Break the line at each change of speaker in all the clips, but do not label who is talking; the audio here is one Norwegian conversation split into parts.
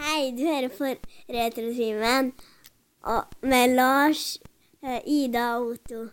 Hei, du hører på Retrotimen og- med Lars, eh, Ida og Otto.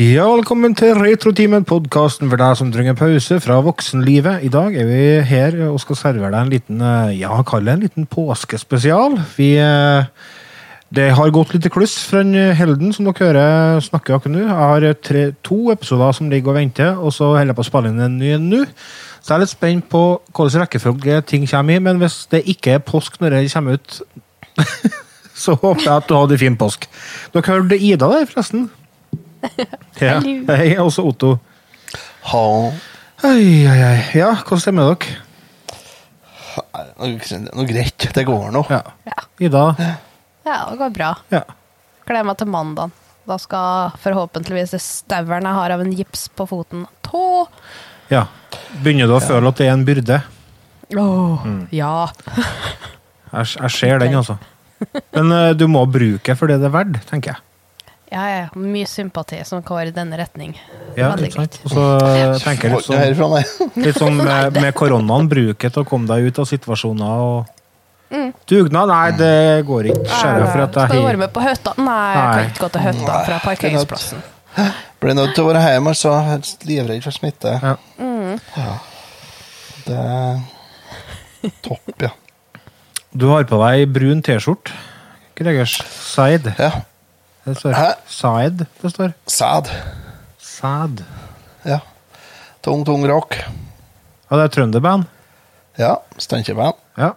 Ja, velkommen til Retrotimen, podkasten for deg som trenger pause fra voksenlivet. I dag er vi her og skal servere deg en liten, eh, ja, kall det en liten påskespesial. Vi eh, Det har gått litt i kluss fra en Helden, som dere hører snakke akkurat nå. Jeg har tre, to episoder som ligger og venter, og så holder jeg på å spille inn en ny en nå. Så jeg er litt spent på hvilken rekkefølge ting kommer i, men hvis det ikke er påsk når det kommer ut, så håper jeg at du hadde fin påsk. Dere hørte Ida der, forresten. Ja. Hei, også Otto.
Ha
Oi, oi, oi. Ja, hvordan stemmer dere?
Noe, noe greit. Det går nå.
Ja.
Ja.
Ida?
Ja, det går bra.
Ja.
Gleder meg til mandagen. Da skal forhåpentligvis det stauren jeg har av en gips på foten tå.
ja. Begynner du å føle at det er en byrde?
Åh,
Mm.
Ja.
Jeg, jeg ser den, altså. Men eh, du må bruke det for det det er verdt, tenker jeg.
Ja, ja. Mye sympati som går i denne retning.
Ja,
Veldig
ikke sant?
greit.
Og så tenker jeg litt
Går ikke
sånn,
herfra, nei.
litt sånn med, med koronaen, bruket til å komme deg ut av situasjoner og Dugnad? Nei, det går ikke. Ser jeg for at
Skal du være
jeg
med på høtta? Nei, jeg
Nei.
kan ikke gå til høtta fra parkeringsplassen.
Blir nødt til å være hjemme, så er jeg livredd for smitte.
Ja.
Ja. Det er topp, ja.
Du har på deg brun T-skjorte. Gregers. Side.
Ja.
Det står.
Hæ?
Side, det står.
Sæd.
Sad.
Ja. Tung, tung rock.
Ja, det er trønderband.
Ja. Steinkjer-band.
Ja.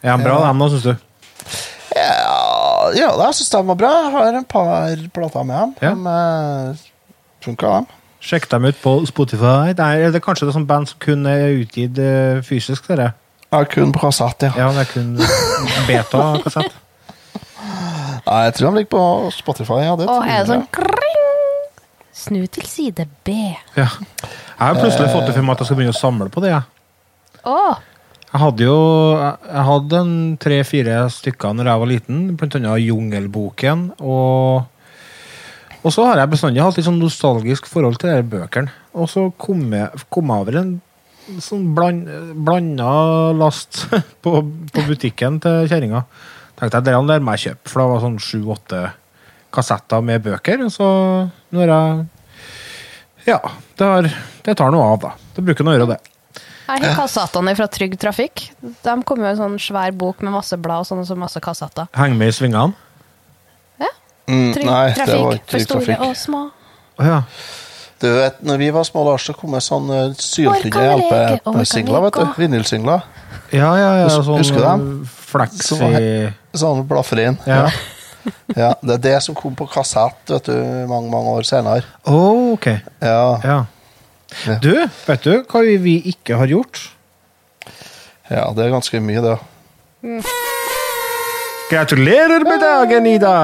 Er han bra,
Ja.
dem, da, syns du?
Ja, ja, jeg syns de var bra. Jeg har et par plater med
Ja.
dem. De funka, dem.
Sjekk dem ut på Spotify. Nei, er det kanskje det er sånn band som kun er utgitt eh, fysisk? Dere?
Jeg har kun på kassett, ja.
Ja, det er kun beta-kassett.
Nei, Jeg tror de ligger på Spotify. Ja, det
Og
tror
er
jeg.
det sånn kring? Snu til side B.
Ja. Jeg har plutselig fått det for meg at jeg skal begynne å samle på det. Jeg,
Å,
jeg hadde jo jeg hadde en tre-fire stykker når jeg var liten, blant annet Jungelboken. Og Og så har jeg bestandig hatt litt sånn nostalgisk forhold til de her bøkene. Og så kom jeg, kom jeg over en sånn bland, blanda last på, på butikken til kjerringa. Tenkte jeg, det der må jeg kjøpe, for det var sånn sju-åtte kassetter med bøker. Så nå har jeg Ja, det, har, det tar noe av, da. Det bruker noe å gjøre, det.
jeg har kassettene fra Trygg Trafikk. De kom jo i en sånn svær bok med masse blad og sånne som masse kassetter.
Henge med i svingene.
Ja.
Mm,
Trygg
nei, det var
Trafikk
ikke
for
Trygg
store
Trafikk.
og små.
Å ja.
Du vet, når vi var små, Lars, så kom det sånn eh,
Orka vi
syltynne
leke? Orka
LP-singler,
vi
vet du.
gå?
Vinylsingler.
Ja, ja, ja,
Hus-
sånn
husker du dem?
Fleksi
Som var he- Sånn blaffer inn.
ja.
Ja, det er det som kom på kassett vet du, mange, mange år senere.
Å, Oh, ok.
Ja, ja.
Ja.
Ja.
Du, vet du hva vi ikke har gjort?
det er ganske mye, det.
Gratulerer med dagen, Ida!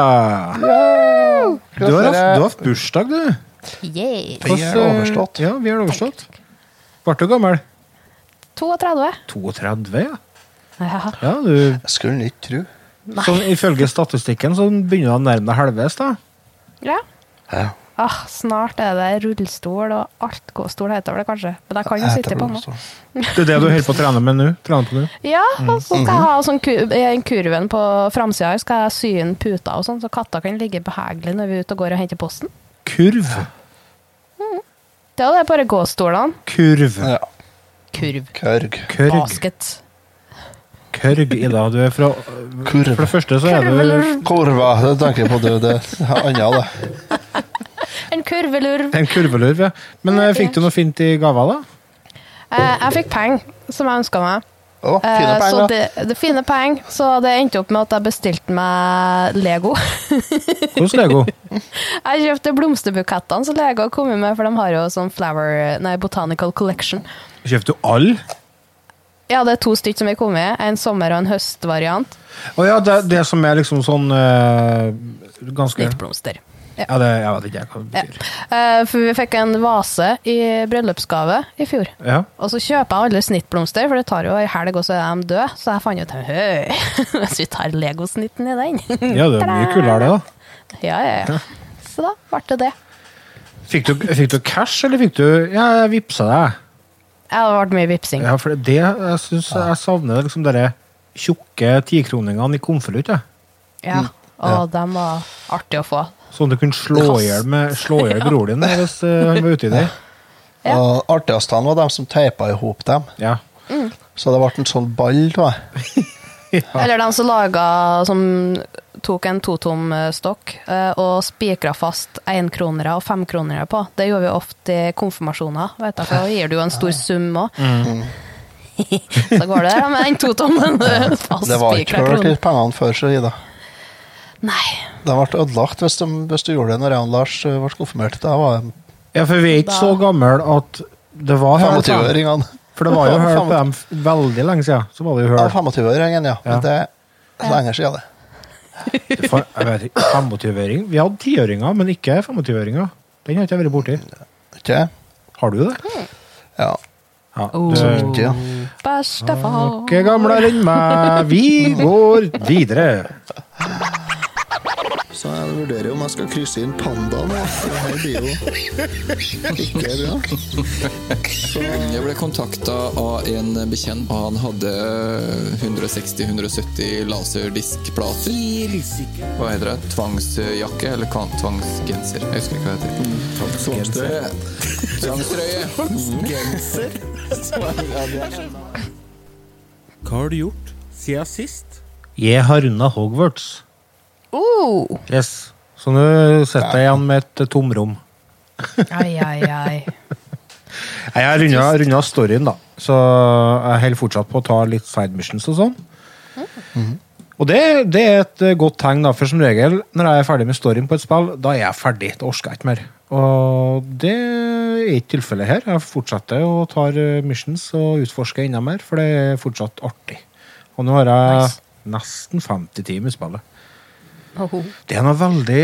Du har, haft, du har hatt bursdag, du.
Yeah.
Vi er
Hvordan, eh,
overstått.
Ja, vi er overstått. Ble du gammel?
32.
32, ja.
Ja.
ja du,
Jeg skulle ikke tro.
sånn, ifølge statistikken så begynner du å nærme deg halvveis, da.
ja.
Ja.
Ah, snart er det rullestol og altgåstol heter det kanskje. Men jeg kan jo
Jeg
sitte
heter
på nå.
Blomster.
Det er det du holder på å trene med nå? Trene på nå.
Ja,
Mm.
og så
Mhm.
skal jeg ha sånn ku en kurven på framsida her, skal jeg sy inn puter og sånn, så katta kan ligge behagelig når vi er ute og går og henter posten.
Kurv.
Det er jo det, bare gåstolene.
Kurv.
Ja.
Kurv.
Kørg.
Kørg.
Basket.
Kørg, Ida. Du er fra For
Kurv.
det første så er du
Korva. Det tenker jeg på, du. Det er annet, det.
En kurvelurv.
en kurvelurv, ja. Men eh, fikk du noe fint i gava, da?
Eh, jeg fikk penger som jeg ønska meg.
Å, fine
Eh, så
penger.
det, det er fine penger. Så det endte opp med at jeg bestilte meg Lego.
Hos Lego.
Jeg kjøpte blomsterbukettene som Lego har kommet med, for de har jo sånn flower, nei, botanical collection.
Kjøpte du all?
Ja, det er to stykker som er kommet. En sommer- og en høstvariant.
Og ja, det, det som er liksom sånn eh, Ganske
Nytt blomster.
Ja, det, jeg vet ikke jeg hva det
Ja.
betyr.
Eh, for vi fikk en vase i bryllupsgave i fjor.
Ja.
Og så kjøper jeg alle snittblomster, for det tar jo ei helg, og så er de døde. Så jeg fant ut Høy, hvis vi tar legosnitten i den
ja, det er mye kulere, det, da.
Ja, ja, ja. Så da ble det det.
Fikk du, fikk du cash, eller fikk du Ja, jeg vippsa deg.
Ja, det ble mye vipsing.
Ja, for det, det jeg syns jeg savner liksom dere tjukke tikroningene i konvolutt, jeg.
Mm. Ja. Og de var artige å få.
Sånn at du kunne slå i hjel med- slå i hjel broren din hvis eh, han var uti der.
Ja.
Og artigst han var dem som teipa i hop dem.
Ja.
Så det ble en sånn ball av det.
Eller de som laga Som tok en totomstokk eh, og spikra fast enkronere og femkronere på. Det gjorde vi ofte i konfirmasjoner, vet du, for da gir du jo en stor sum òg.
Mm.
Så går det der med den totommen. Altså,
Det var ikke
fastspikra
hørt i
kroner.
pengene før, så Ida.
Nei.
De ble ødelagt hvis, de, hvis du gjorde det når jeg og Lars eh, ble konfirmert. Da var de
ja, for vi er ikke så gamle at det var høl på dem.
25-åringene.
For det var jo høl på
Fem-
dem f- veldig lenge siden. Så var det jo
Ja,
høl.
25-åringen, ja.
Ja.
Men Det er lenge siden, det.
For, jeg vet ikke, 25-øring? Vi hadde 10-øringer, men ikke 25-øringer. Den har ikke jeg vært borti.
Ikke?
Har du det?
Ja.
Ja,
Oh.
du
Ja.
Bestefar.
Mm. ikke gamlere enn meg. Vi går videre.
Så jeg vurderer om jeg skal krysse inn pandaen. Det her blir jo ikke bra.
Jeg ble kontakta av en bekjent, og han hadde 160-170 laserdiskplater. Hva heter det? Tvangsjakke? Eller hva- tvangsgenser? Jeg husker ikke hva det heter. Tvangstrøye. Tvangstrøye.
Hva har du gjort siden sist?
Jeg har runda Hogwarts.
Oh.
Yes. Så nå sitter jeg igjen med et tomrom.
Ai, ai, ai.
Nei, Jeg har runda, runda storyen, da. Så jeg holder fortsatt på å ta litt side missions og sånn. Og det, det er et eh, godt tegn, da, for som regel når jeg er ferdig med storyen på et spill, da er jeg ferdig. Da orker jeg ikke mer. Og det er ikke tilfellet her. Jeg fortsetter og tar eh, missions og utforsker enda mer, for det er fortsatt artig. Og nå har jeg
Nice.
nesten 50 timer i spillet.
Oho.
Det er noe veldig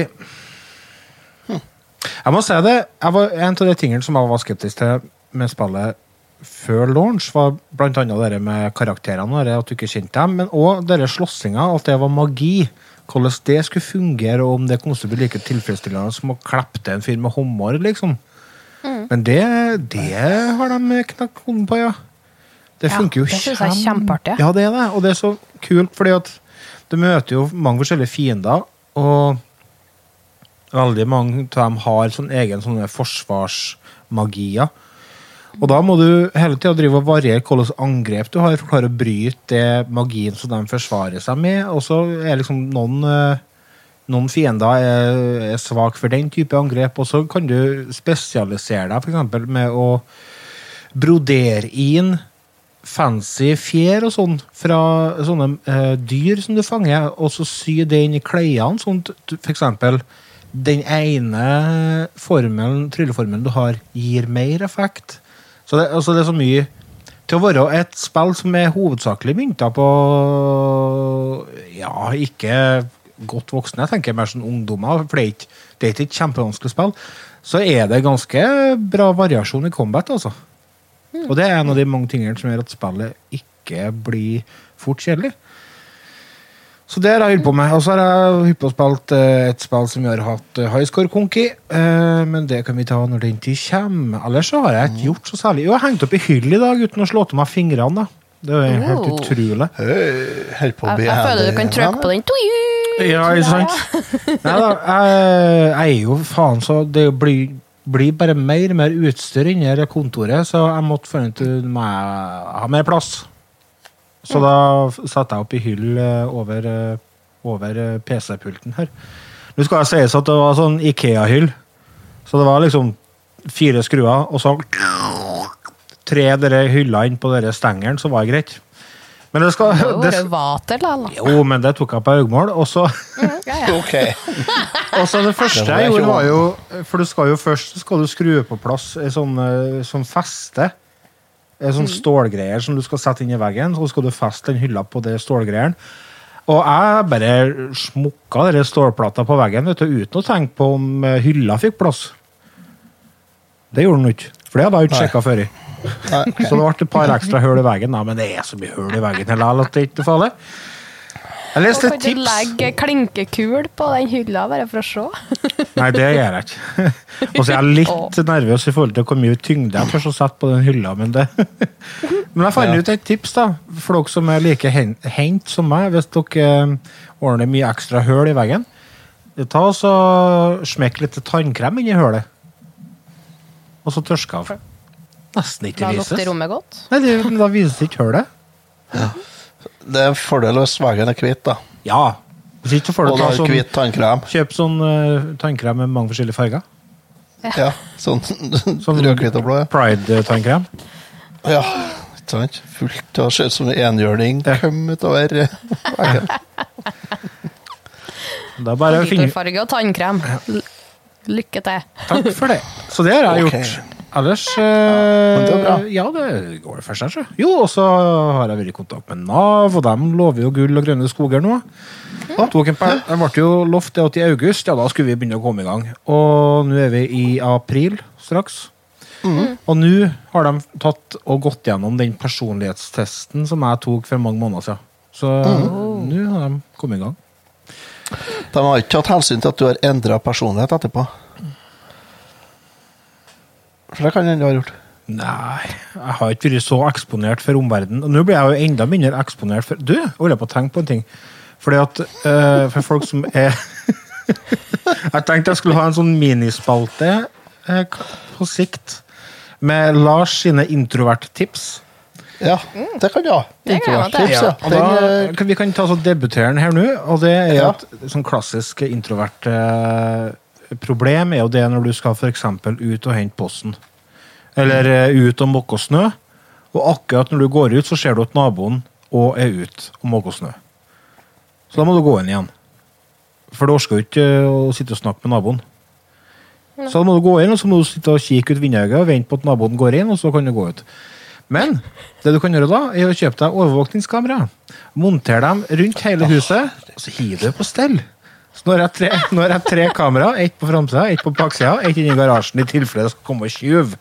Jeg må si det. Jeg var, en av de tingene som jeg var skeptisk til med spillet før launch, var blant annet det der med karakterene, det at du ikke kjente dem, men òg slåssinga, at det var magi. Hvordan det skulle fungere, og om det kom til å bli like tilfredsstillende som å klippe til en fyr med hummer. liksom.
Mm.
Men det, det har de knakk hoden på, ja. Det
Ja,
funker jo
det synes jeg er kjempeartig.
Ja, det er det. Og det er så kult, fordi at du møter jo mange forskjellige fiender, og veldig mange av dem har sånn egen sånne forsvarsmagier. Og da må du hele tida drive og variere hvilke angrep du har, for å klare å bryte det magien som de forsvarer seg med. Og så er liksom noen eh, noen fiender er, er svak for den type angrep, og så kan du spesialisere deg for eksempel med å brodere inn fancy fjer og sånn fra sånne eh, dyr som du fanger, og så sy det inn i klærne. Sånn, at du- for eksempel den ene formelen, trylleformelen du har, gir mer effekt. Så det, altså det er så mye til å være et spill som er hovedsakelig mynta på Ja, ikke godt voksne, jeg tenker mer sånn ungdommer, for det er ikke, det er ikke et kjempevanskelig spill. Så er det ganske bra variasjon i combat, altså. Og det er en av de mange tingene som gjør at spillet ikke blir fort kjedelig. Så det har jeg holdt på med. Og så har jeg holdt på og spilt eh, et spill som jeg har hatt eh, high score konki, eh, men det kan vi ta når den tid kommer. Ellers så har jeg ikke gjort så særlig. Jo, jeg hengte opp i hyll i dag uten å slå til meg fingrene, da. Det er jo helt
Oh.
utrolig.
Helt på
Jeg, jeg føler du kan trykke på den. Tui!
Ja, ikke sant? Nei da, jeg, jeg er jo faen så Det blir, blir bare mer og mer utstyr inni det kontoret, så jeg måtte finne ut om jeg har mer plass. Så da f- satte jeg opp i hyll eh, over, eh, over eh, PC-pulten her. Nå skal det sies at det var sånn Ikea-hyll. Så det var liksom fire skruer, og så tre dere hyllene på dere stengeren, så var det greit. Men det skal
Det
det,
var vater, da.
Jo, men det tok jeg på øyemål, og så
Ja, ja.
Ok.
og så Altså, det første
Det var
jeg
ikke
gjorde, var jo For du skal jo først så skal du skru på plass ei sånn, eh, sånn feste eh, sånn stålgreier som du skal sette inn i veggen, så skal du feste den hylla på det stålgreiene. Og jeg bare smukka dere stålplata på veggen vet du, uten å tenke på om eh, hylla fikk plass. Det gjorde den ikke, for det hadde jeg ikke sjekka før. i. Så det ble et par ekstra hull i veggen. Nei, men det er så mye hull i veggen likevel at det ikke er farlig. Jeg leste
Hvorfor
et
ikke
tips.
legge klinkekul på den hylla, bare for å se?
Nei, det gjør jeg ikke. Og så er jeg litt nervøs i forhold til hvor mye tyngde jeg tør å sette på den hylla, men det Men jeg fant ut et tips, da, for dere som er like hen- hendt som meg, hvis dere eh, ordner mye ekstra høl i veggen. Ta og så Smekk litt tannkrem inn i hølet, og så tørsk av. Nesten ikke
La lukte
vises.
rommet godt.
Nei, det, men da vises ikke hølet.
Det er en fordel hvis veggen er hvit, da.
Ja. Hvis ikke så får du
Og du
ta
har
sånn,
hvit tannkrem.
kjøp sånn eh, tannkrem med mange forskjellige farger.
Ja, sånn
Sånn
rød-hvit og blå. ja.
Pride-tannkrem.
Ja, ikke sant? Fullt av ser ut som en enhjørning
Ja.
kom utover eh, veggen.
Det er bare å finne
Kontorfarge og tannkrem. L- Lykke til.
Takk for det. Så det har jeg
Ok.
gjort. Ellers eh,
men det er bra.
Ja, det går for seg, sjø. Jo, og så har jeg vært i kontakt med Nav, og de lover jo gull og grønne skoger nå. Tok en per- Det ble jo lovt det at i august, ja, da skulle vi begynne å komme i gang. Og nå er vi i april straks.
Mm.
Og nå har de tatt og gått gjennom den personlighetstesten som jeg tok for mange måneder siden. Så
Mm.
nå har de kommet i gang.
De har ikke tatt hensyn til at du har endra personlighet etterpå. For det kan hende du har gjort.
Nei, jeg har ikke vært så eksponert for omverdenen. Og nå blir jeg jo enda mindre eksponert for Du, jeg holder på å tenke på en ting. Fordi at eh, For folk som er Jeg tenkte jeg skulle ha en sånn minispalte eh, på sikt med Lars sine introverttips.
Ja, det kan du ha.
Det kan jeg ha, det.
Introverttips, ja.
Og
Den,
da,
eh,
kan- vi kan ta så debutere den her nå. Og det er
Ja.
at sånn klassisk introvert eh, problem er jo det når du skal f.eks. ut og hente posten. Eller eh, ut og måke snø. Og akkurat når du går ut, så ser du at naboen og er ute og måker snø. Så da må du gå inn igjen. For du orker jo ikke eh, å sitte og snakke med naboen. Så da må du gå inn, og så må du sitte og kikke ut vinduet og vente på at naboen går inn, og så kan du gå ut. Men det du kan gjøre da, er å kjøpe deg overvåkningskamera. Montere dem rundt hele huset, og så hiv det på stell. Så nå har jeg tre, nå har jeg tre kamera, ett på framsida, ett på baksida, ett inni garasjen i tilfelle det skal komme tjuv.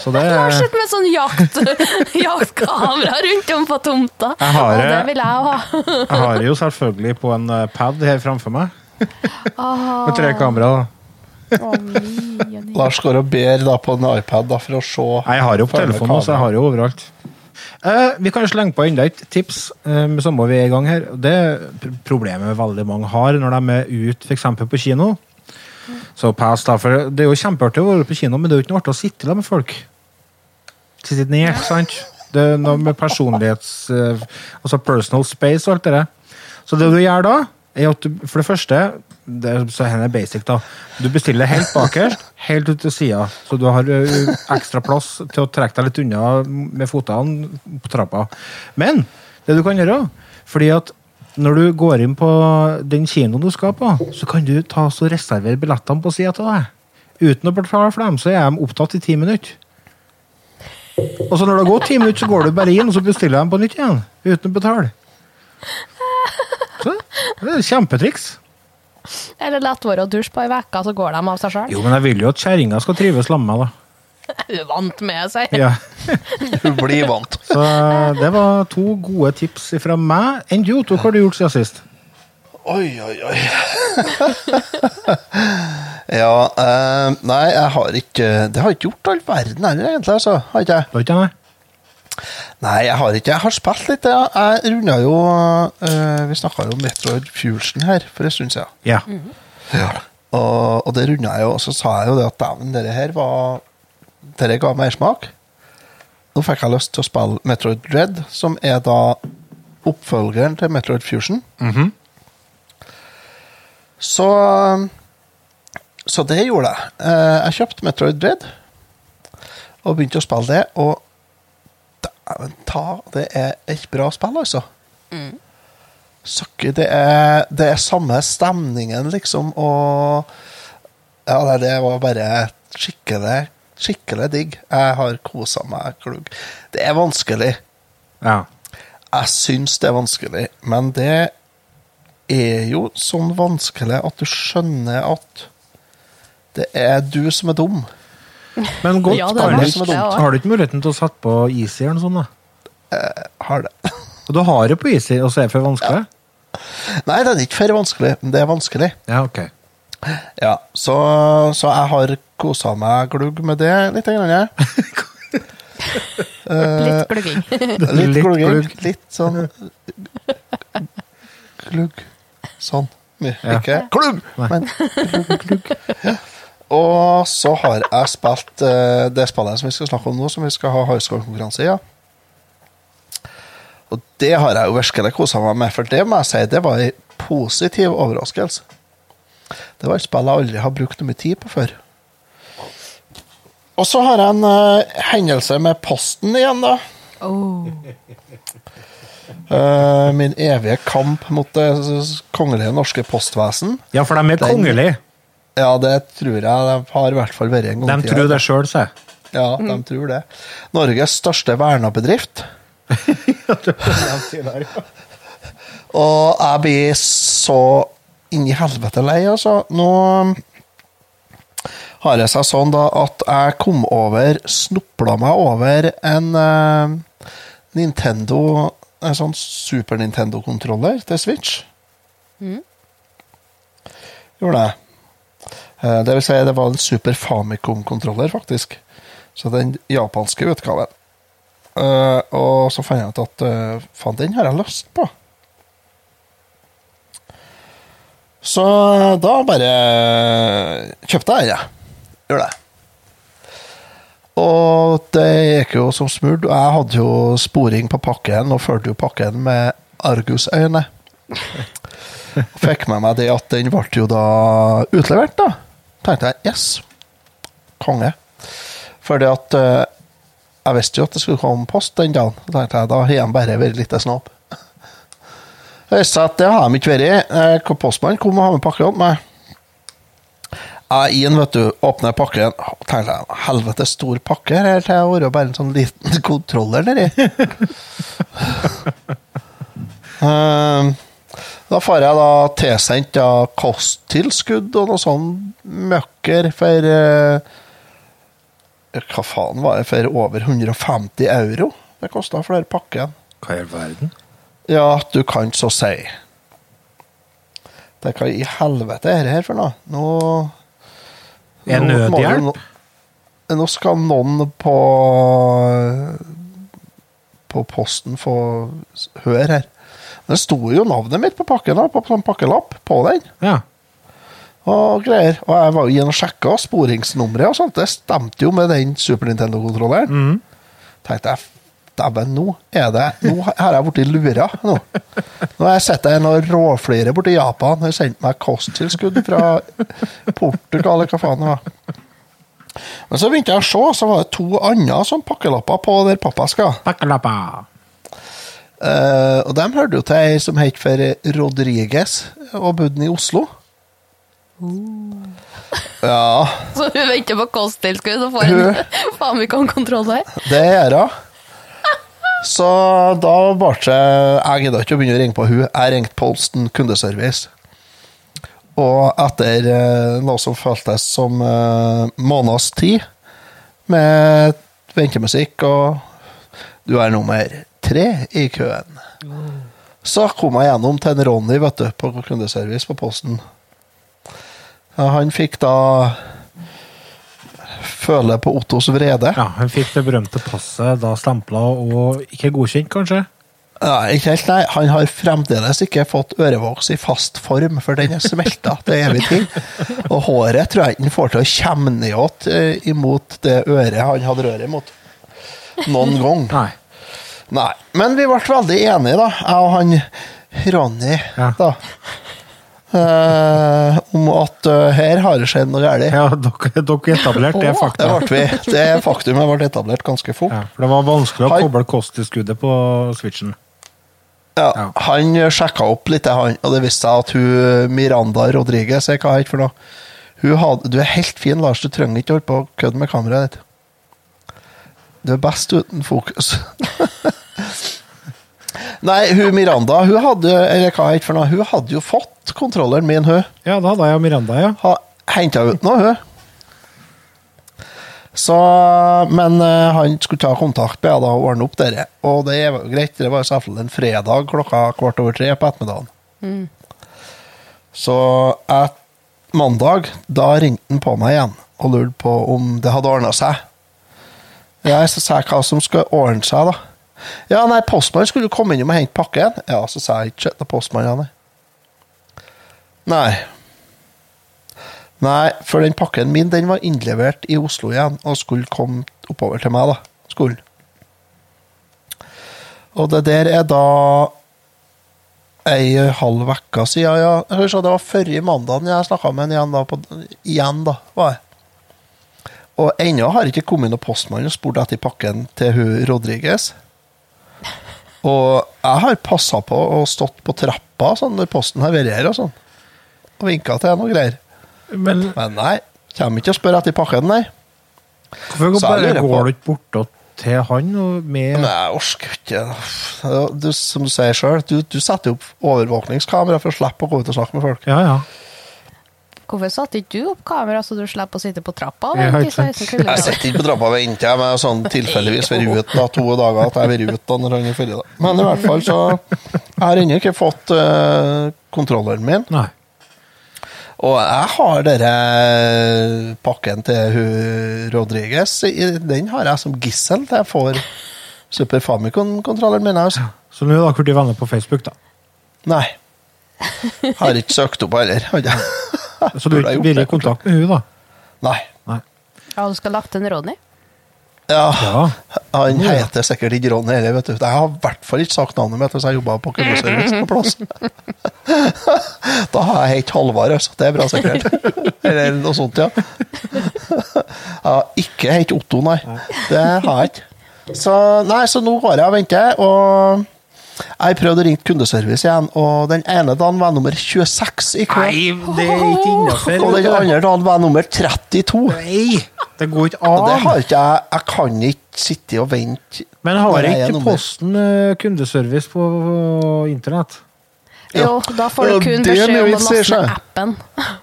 Så det
Jeg har sett med sånn jakt, jaktkamera rundt om på tomta.
Jeg har
og
det.
det vil jeg ha.
Jeg har jo selvfølgelig på en eh, pad her framfor meg. Med tre kamera. da.
Lars går og ber da på en iPad da, for å se
Nei, Jeg har jo på telefonen, også, jeg har jo overalt. Eh, vi kan jo slenge på enda et tips eh, med samme vi er i gang her. Det er pr- problemet veldig mange har når de er ute f.eks. på kino. Så pass da, for Det er jo kjempeartig å være på kino, men det er jo ikke noe artig å sitte der med folk. Sitte ned, sant? Det er noe med personlighets... eh, altså personal space og alt det der. Så det du gjør da, er at du for det første det er, så her er basic da. Du bestiller helt bakerst, helt ut til sida. Så du har ø, ekstra plass til å trekke deg litt unna med føttene på trappa. Men det du kan gjøre, fordi at når du går inn på den kinoen du skal på, så kan du ta så reservere billettene på sida av deg. Uten å betale for dem, så er de opptatt i ti minutter. Og så når det har gått ti minutter, så går du bare inn og så bestiller dem på nytt igjen. Uten å betale. Så, det er et kjempetriks.
Eller la være å dusje på ei uke, så går de av seg sjøl.
Jo, men jeg vil jo at kjerringa skal trives sammen med meg, da.
Hun er vant med seg.
Ja.
Hun blir vant.
Så eh, det var to gode tips fra meg. Enn du, Otto, hva har du gjort siden sist?
Oi, oi, oi. ja, eh, nei, jeg har ikke Det har jeg ikke gjort all verden heller, egentlig. altså, har ikke jeg.
Det var ikke jeg, nei.
Nei, jeg har ikke. Jeg har spilt litt. Jeg, jeg runda jo eh, Vi snakka jo om Metroid Fusion her for en stund siden.
Ja.
Og, og det runda jeg jo, og så sa jeg jo det at dæven, dette her var Dette ga mersmak. Nå fikk jeg lyst til å spille Metroid Dread, som er da oppfølgeren til Metroid Fusion.
Mhm.
Så Så det gjorde jeg. Eh, Jeg kjøpte Metroid Dread og begynte å spille det, og dæven ta, det er et bra spill, altså. Søkker, det er, det er samme stemningen, liksom, og Ja, nei, det var bare skikkelig Skikkelig digg. Jeg har kosa meg klugg. Det er vanskelig.
Ja.
Jeg syns det er vanskelig, men det er jo sånn vanskelig at du skjønner at det er du som er dum.
Men godt,
Ja, det er
kan
vanskelig,
du,
det
også.
har du ikke muligheten til å sette på easy eller noe sånt? da?
Har det.
Og du har det på easy, og så er det for vanskelig?
Nei, det er ikke for vanskelig, men det er vanskelig.
Ja, ok.
Ja, Så, så jeg har kosa meg glugg med det litt. Grann, jeg. Eh,
Litt glugging.
Litt,
Litt
glugg.
glugg.
Litt sånn Glugg. Sånn.
Ja.
Ikke glugg, men glugg. Ja. Og så har jeg spilt eh, det spillet som vi skal snakke om nå, som vi skal ha highscore-konkurranse i. Ja. Og det har jeg jo virkelig kosa meg med, for det må jeg si, det var en positiv overraskelse. Det var et spill jeg aldri har brukt noe mye tid på før. Og så har jeg en eh, hendelse med posten igjen, da.
Oh.
Eh, min evige kamp mot det s- kongelige norske postvesen.
Ja, for de er
Den-
kongelige.
Ja, det tror jeg de har i hvert fall vært en
De
gang i
tror det sjøl, sier jeg.
Ja, de tror det. Norges største vernabedrift. Og jeg blir så inni helvete lei, altså. Nå har det seg sånn da at jeg kom over, snopla meg over en eh, Nintendo En sånn Super Nintendo-kontroller til Switch. Gjorde jeg. Eh, Det vil si, det var en Super Famicom-kontroller, faktisk. Så den japanske utgaven. Eh, og så fant jeg ut at eh, faen, den har jeg lyst på. Så eh, da bare eh, kjøpte jeg den, jeg. Gjorde det. Og det gikk jo som smurt. og Jeg hadde jo sporing på pakken, og fulgte jo pakken med argusøyne. Fikk med meg det at den ble jo da utlevert, da. Tenkte jeg yes, konge. Fordi at eh, jeg visste jo at det skulle komme post den dagen. Da tenkte jeg, da har jeg bare vært litt snobb. Det viste seg at det har de ikke vært. Eh, hvor Postmannen kom og hadde med pakke opp meg. Jeg inn, vet du, åpner pakken. Tenkte jeg, helvete, stor pakke her til å være bare en sånn liten kontroller nedi. Eh, da får jeg da tilsendt da kosttilskudd og noe sånn møkker for eh, hva faen var det for over 150 euro det kosta for den pakken?
Hva i all verden?
Ja, du kan så si. Det hva i helvete er det her for noe? Nå
Er
nå må
nødhjelp?
jo no- Nå skal noen på på posten få s- høre her. Det sto jo navnet mitt på pakken, da, på sånn pakkelapp på den.
Ja.
Og greier. Og jeg var jo inne og sjekka sporingsnummeret, og sånt. det stemte jo med den Super Nintendo-kontrolleren.
Mhm.
tenkte jeg Dæven, nå er det Nå har jeg blitt lura. Nå Nå har jeg sett en og råflirer borti Japan og sendt meg kosttilskudd fra Portugal, eller hva faen det var. Men så begynte jeg å se, så var det to andre sånn pakkelapper på der pappa skal.
Bakkalappa.
Eh, og dem hørte jo til ei som het for Rodriguez, og bodde i Oslo. Ja,
Så hun venter på kosttilskudd og får en Famicom-kontroller.
Det gjør hun. Så da ble det Jeg gidda ikke å begynne å ringe på hun. Jeg ringte Polsten kundeservice. Og etter eh, noe som føltes som eh, måneds tid, med ventemusikk og Du er nummer tre i køen. Så kom jeg gjennom til en Ronny vet du, på kundeservice på Posten. Ja, Han fikk da føle på Ottos vrede.
Ja, hun fikk det berømte passet da stempla og ikke godkjent, kanskje?
Nei, ikke helt, nei. Han har fremdeles ikke fått ørevoks i fast form, for den er smelta til evig tid. Og håret tror jeg ikke han får til å komme ned igjen eh, imot det øret han hadde røret imot. Noen gang.
Nei.
Nei. Men vi ble veldig enige, da, jeg og han Ronny,
Ja.
da. Eh, om at eh, her har det skjedd noe galt.
Ja, dere, dere etablerte det
Det
faktum.
ble vi. Det faktumet ble etablert ganske fort.
Ja, for det var vanskelig å
Hei.
koble kosttilskuddet på switchen.
Ja,
Ja.
Han sjekka opp litt, han, og det viste seg at hun Miranda Rodriguez jeg, hva er det for noe? Hun hadde, du er helt fin, Lars. Du trenger ikke holde på å kødde med kameraet ditt. Du er best uten fokus. Nei, hun Miranda, hun hadde eller hva heter for noe, hun hadde jo fått kontrolleren min, hun.
Ja, da hadde jeg og Miranda, ja.
Henta ut noe, hun. Så, men eh, han skulle ta kontakt med henne da, og ordne opp dette. Og det var jo greit, det var jo selvfølgelig en fredag klokka kvart over tre på ettermiddagen. Så jeg, mandag, da ringte han på meg igjen og lurte på om det hadde ordna seg. Ja, så sa jeg hva som skulle ordne seg, da. Ja, nei, postmannen skulle komme innom og hente pakken. Ja, så sa jeg ikke til postmannen, ja, nei. Nei. Nei, for den pakken min, den var innlevert i Oslo igjen, og skulle komme oppover til meg, da. Skulle. Og det der er da ei eh, halv uke siden, ja. Skal vi se, det var forrige mandag jeg snakka med han igjen, da. På, igjen, da, var jeg. Og ennå har ikke kommet noen postmann og spurt etter pakken til hun Rodriguez. Og jeg har passa på og stått på trappa sånn, når posten har vært her og sånn. Og vinka til henne og greier.
Men
Men nei, kommer ikke og spør etter pakken, nei.
hvorfor går,
Så jeg
bare
lurer på-
går du ikke bort og til han og med
Men jeg orker ikke. Det er- Du, som du sier sjøl, du, du setter jo opp overvåkningskamera for å slippe å gå ut og snakke med folk.
Ja, ja.
Hvorfor satte ikke du opp kamera, så du slipper å sitte på trappa? og
Ja,
vente i
ikke sant.
16
Jeg
kuldegrader?
sitter ikke på trappa og venter, jeg, men jeg har sånn tilfeldigvis vært ute da, to dager at jeg har vært ute da når han er ferdig. da. Men i hvert fall så Jeg har ennå ikke fått eh, kontrolleren min.
Nei.
Og jeg har dere pakken til hun Rodriguez. i- Den har jeg som gissel til jeg får Super Famicom-kontrolleren min. Altså.
Så nå er dere blitt venner på Facebook, da.
Nei. Har ikke søkt opp heller. har ikke jeg.
Så du
Burde jeg gjort
blir i
det,
kontakt med hun da?
Nei.
Nei.
Ja, du skal lagt en Ronny.
Ja,
Ja.
han heter sikkert ikke Ronny heller, vet du. Jeg har i hvert fall ikke sagt navnet mitt hvis jeg jobba på kundeservice på plass. Da har jeg hett Halvard, altså. Det er bra, sikkert. Eller noe sånt, ja. Jeg har ikke hett Otto, nei. Det har jeg ikke. Så, nei, så nå går jeg og venter, og jeg har prøvd å ringe kundeservice igjen, og den ene dagen var jeg nummer 26 i kø,
det er ikke
og den
innafor.
andre dagen var jeg nummer 32.
Nei, det går ikke
Og det har
an.
ikke jeg Jeg kan ikke sitte og vente.
Men har
når jeg er
ikke
nummer-
Posten eh, kundeservice på eh, internett?
Jo, da får
Ja,
du kun
det er
beskjed om å
mye vits
laste
i
ned
seg.
appen.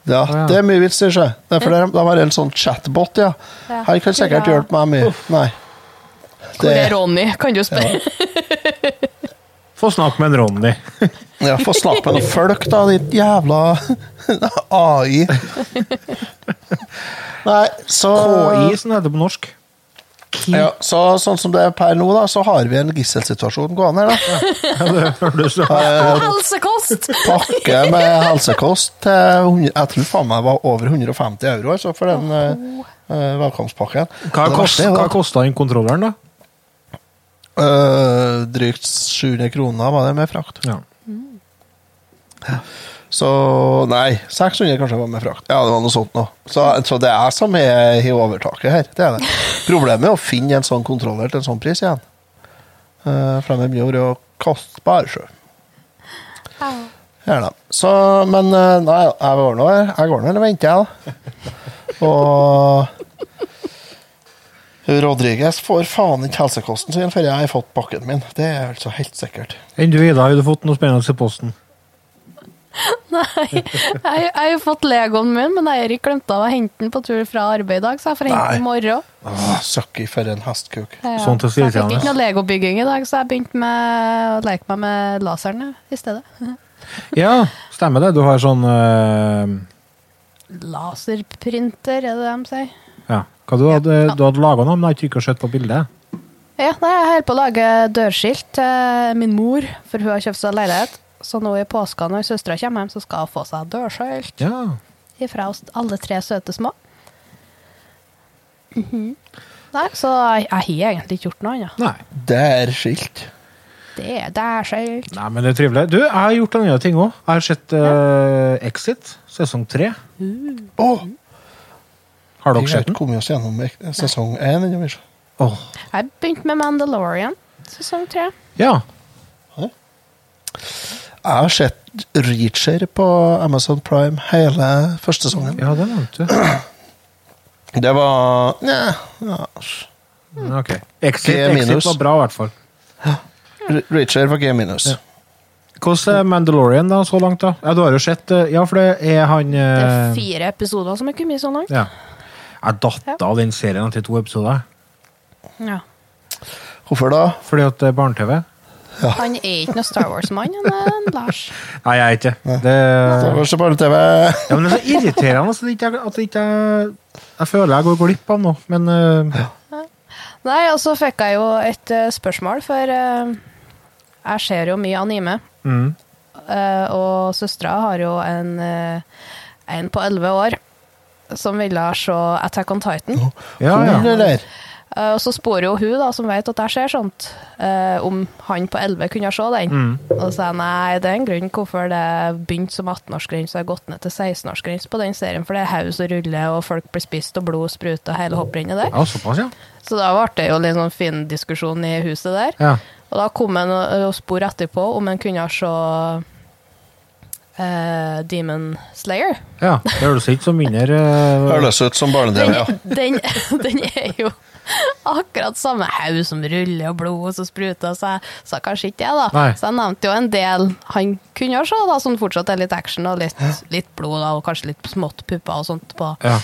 Ja,
ja.
det er mye vits i seg. Det er fordi de, de har en sånn chatbot, ja.
Ja,
Han kan sikkert
hurra.
hjelpe meg mye. Nei.
Hvor
Det,
er Ronny, kan du spørre.
Få snakke med en Ronny.
ja, Få snakke med noen folk, da, ditt jævla AI. Nei, så
KI, som det heter på norsk.
Ja, så, sånn som det er per nå, da, så har vi en gisselsituasjon gående her, da.
Ja, det høres ut som-
Helsekost!
Pakke med helsekost til 100, Jeg tror faen meg var over 150 euro altså, for den eh, eh, velkomstpakken.
Hva
Det verste
kost-
er jo
hva
at-
kosta den kontrolleren, da?
Øh, drygt 700 kroner var det med frakt.
Ja.
Så nei, 600 kanskje var med frakt. Ja, det var noe sånt nå. Så, så det er jeg som er i overtaket her. Det er det. Problemet er å finne en sånn kontroller til en sånn pris igjen. Uh, for de er mye å kostbare, sjø. Gjerne. Så, men eh, nei, jeg går nå her. Jeg går nå her og venter, jeg, da. Og Rodriguez får faen ikke helsekosten sin før jeg har fått pakken min. Det er altså helt sikkert.
Enn du, Ida, har du fått noe spennende i posten?
Nei, jeg, jeg har jo fått Legoen min, men jeg har ikke glemt av å hente den på tur fra arbeid i dag, så jeg får hente
Nei.
den i morgen.
Åh, Søkki for en hestkuk.
Ja,
Sånt er
så jeg fikk
irriterende.
ikke noe legobygging i dag, så jeg begynte med å leke meg med laseren jeg, i stedet.
Ja, stemmer det. Du har sånn eh,
Laserprinter, er det det de sier?
Ja. Hva du hadde du hadde laga noe, men jeg har ikke sett på bildet.
Ja, nei, jeg holder på å lage dørskilt til min mor, for hun har kjøpt seg leilighet. Så nå i påska når søstera kommer hjem, så skal hun få seg dørskilt
Ja.
ifra oss alle tre søte små. Mhm. Nei, så jeg, jeg har egentlig ikke gjort noe annet.
Nei.
Det er skilt.
Det er dørskilt.
Nei, men det er trivelig. Du, jeg har gjort en annen ting òg. Jeg har sett eh, Exit, sesong tre.
Å,
Har
vi
dere
har
sett
ikke
den?
kommet oss gjennom ek- sesong én ennå. Misha.
Åh,
Jeg begynte med Mandalorian sesong tre.
Ja.
Jeg har sett Reacher på Amazon Prime hele første sesongen.
ja, det nevnte du.
Det var Nja, ja.
Men Mm, Ok. Exit,
G
exit
minus.
var bra, i hvert fall.
R- Rachel var G minus.
Ja. Hvordan er Mandalorian da, så langt? da? Ja, Du har jo sett eh, Ja, for det er han
Det er
eh,
fire episoder som er kommet så langt.
ja. Jeg datt av den serien til to episoder,
Ja.
Hvorfor da?
fordi at eh, det er barne-TV.
Han er ikke noen Star Wars-mann, han er en Lars.
Nei, jeg er ikke det. det.
Det var så bare TV.
Ja, men det er så irriterende at det ikke er- at det ikke er Jeg føler jeg går glipp av noe, men eh,
Nei, og så fikk jeg jo et eh, spørsmål, for eh, jeg ser jo mye anime.
mm.
Eh, og søstera har jo en, eh, en på elleve år som ville se Attack on Titan.
Ja,
Hvor
ja.
er det der?
Eh, og så spør jo hun, da, som vet at jeg ser sånt, eh, om han på elleve kunne se den. Og så sa jeg nei, det er en grunn hvorfor det begynte som 18-årsgrense og har gått ned til 16-årsgrense på den serien, for det er haus og rulle, og folk blir spist, og blod spruter, og hele hopprennet der.
ja såpass, ja.
Så da ble det jo litt sånn fin diskusjon i huset der.
ja.
Og da kom han og og spor etterpå om han kunne se eh, Demon Slayer.
Ja, det høres ikke som mindre eh,
Høres ut som barne-TV,
Den,
ja.
den, den er jo akkurat samme haug som ruller og blod som spruter, så jeg sa kanskje ikke det, da.
Nei.
Så jeg nevnte jo en del han kunne se, da, som fortsatt er litt action og litt, litt blod da, og kanskje litt smått pupper og sånt på.
ja.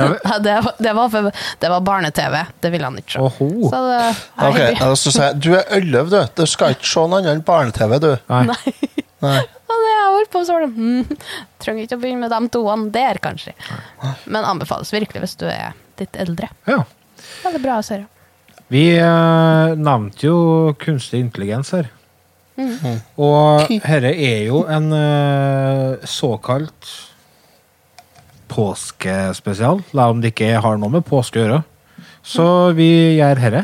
Ja, men-
Nei, Det, var- det var, for- det var barne-TV, det ville han ikke se.
Åhå.
Så det,
Ok,
jeg-
altså, så jeg, Du er elleve, du. Du skal ikke se noe annet enn barne-TV, du.
Nei.
Nei.
Og det jeg holdt på så var det mm, Trenger ikke å begynne med de toene der, kanskje. Men anbefales virkelig hvis du er litt eldre.
Ja.
Veldig bra serie.
Vi eh, nevnte jo kunstig intelligens her. Og herre er jo en eh, såkalt påskespesial, la om det ikke har noe med påske å gjøre. Så vi gjør herre.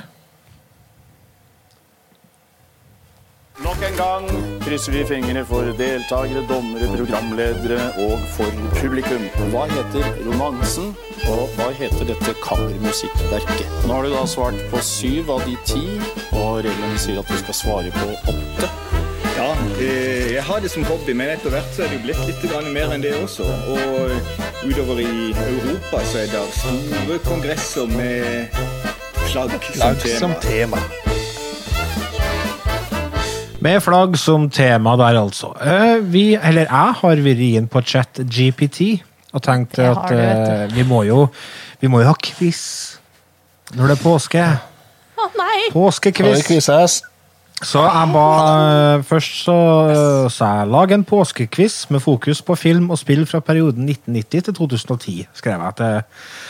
Nok en gang krysser vi fingrene for deltakere, dommere, programledere og for publikum. Hva heter romansen, og hva heter dette kammermusikkverket? Nå har du da svart på syv av de ti, og reglene sier at du skal svare på åtte.
Ja, eh, jeg har det som hobby, men etter hvert så er det jo blitt litt grann mer enn det også. Og utover i Europa så er det store kongresser med flagg som
Flagg som
tema.
tema.
Med flagg som tema der, altså. Eh, vi, eller jeg har vært inn på chat GPT og tenkt
Det
at
har du,
eh,
vet
vi, må jo, vi må jo ha quiz når det er påske.
Å nei!
Nå er
Påskekviss.
det quiz-ass.
Så jeg ba eh, Først så eh, sa jeg lag en påskekviss med fokus på film og spill fra perioden 1990 til 2010, skrev jeg til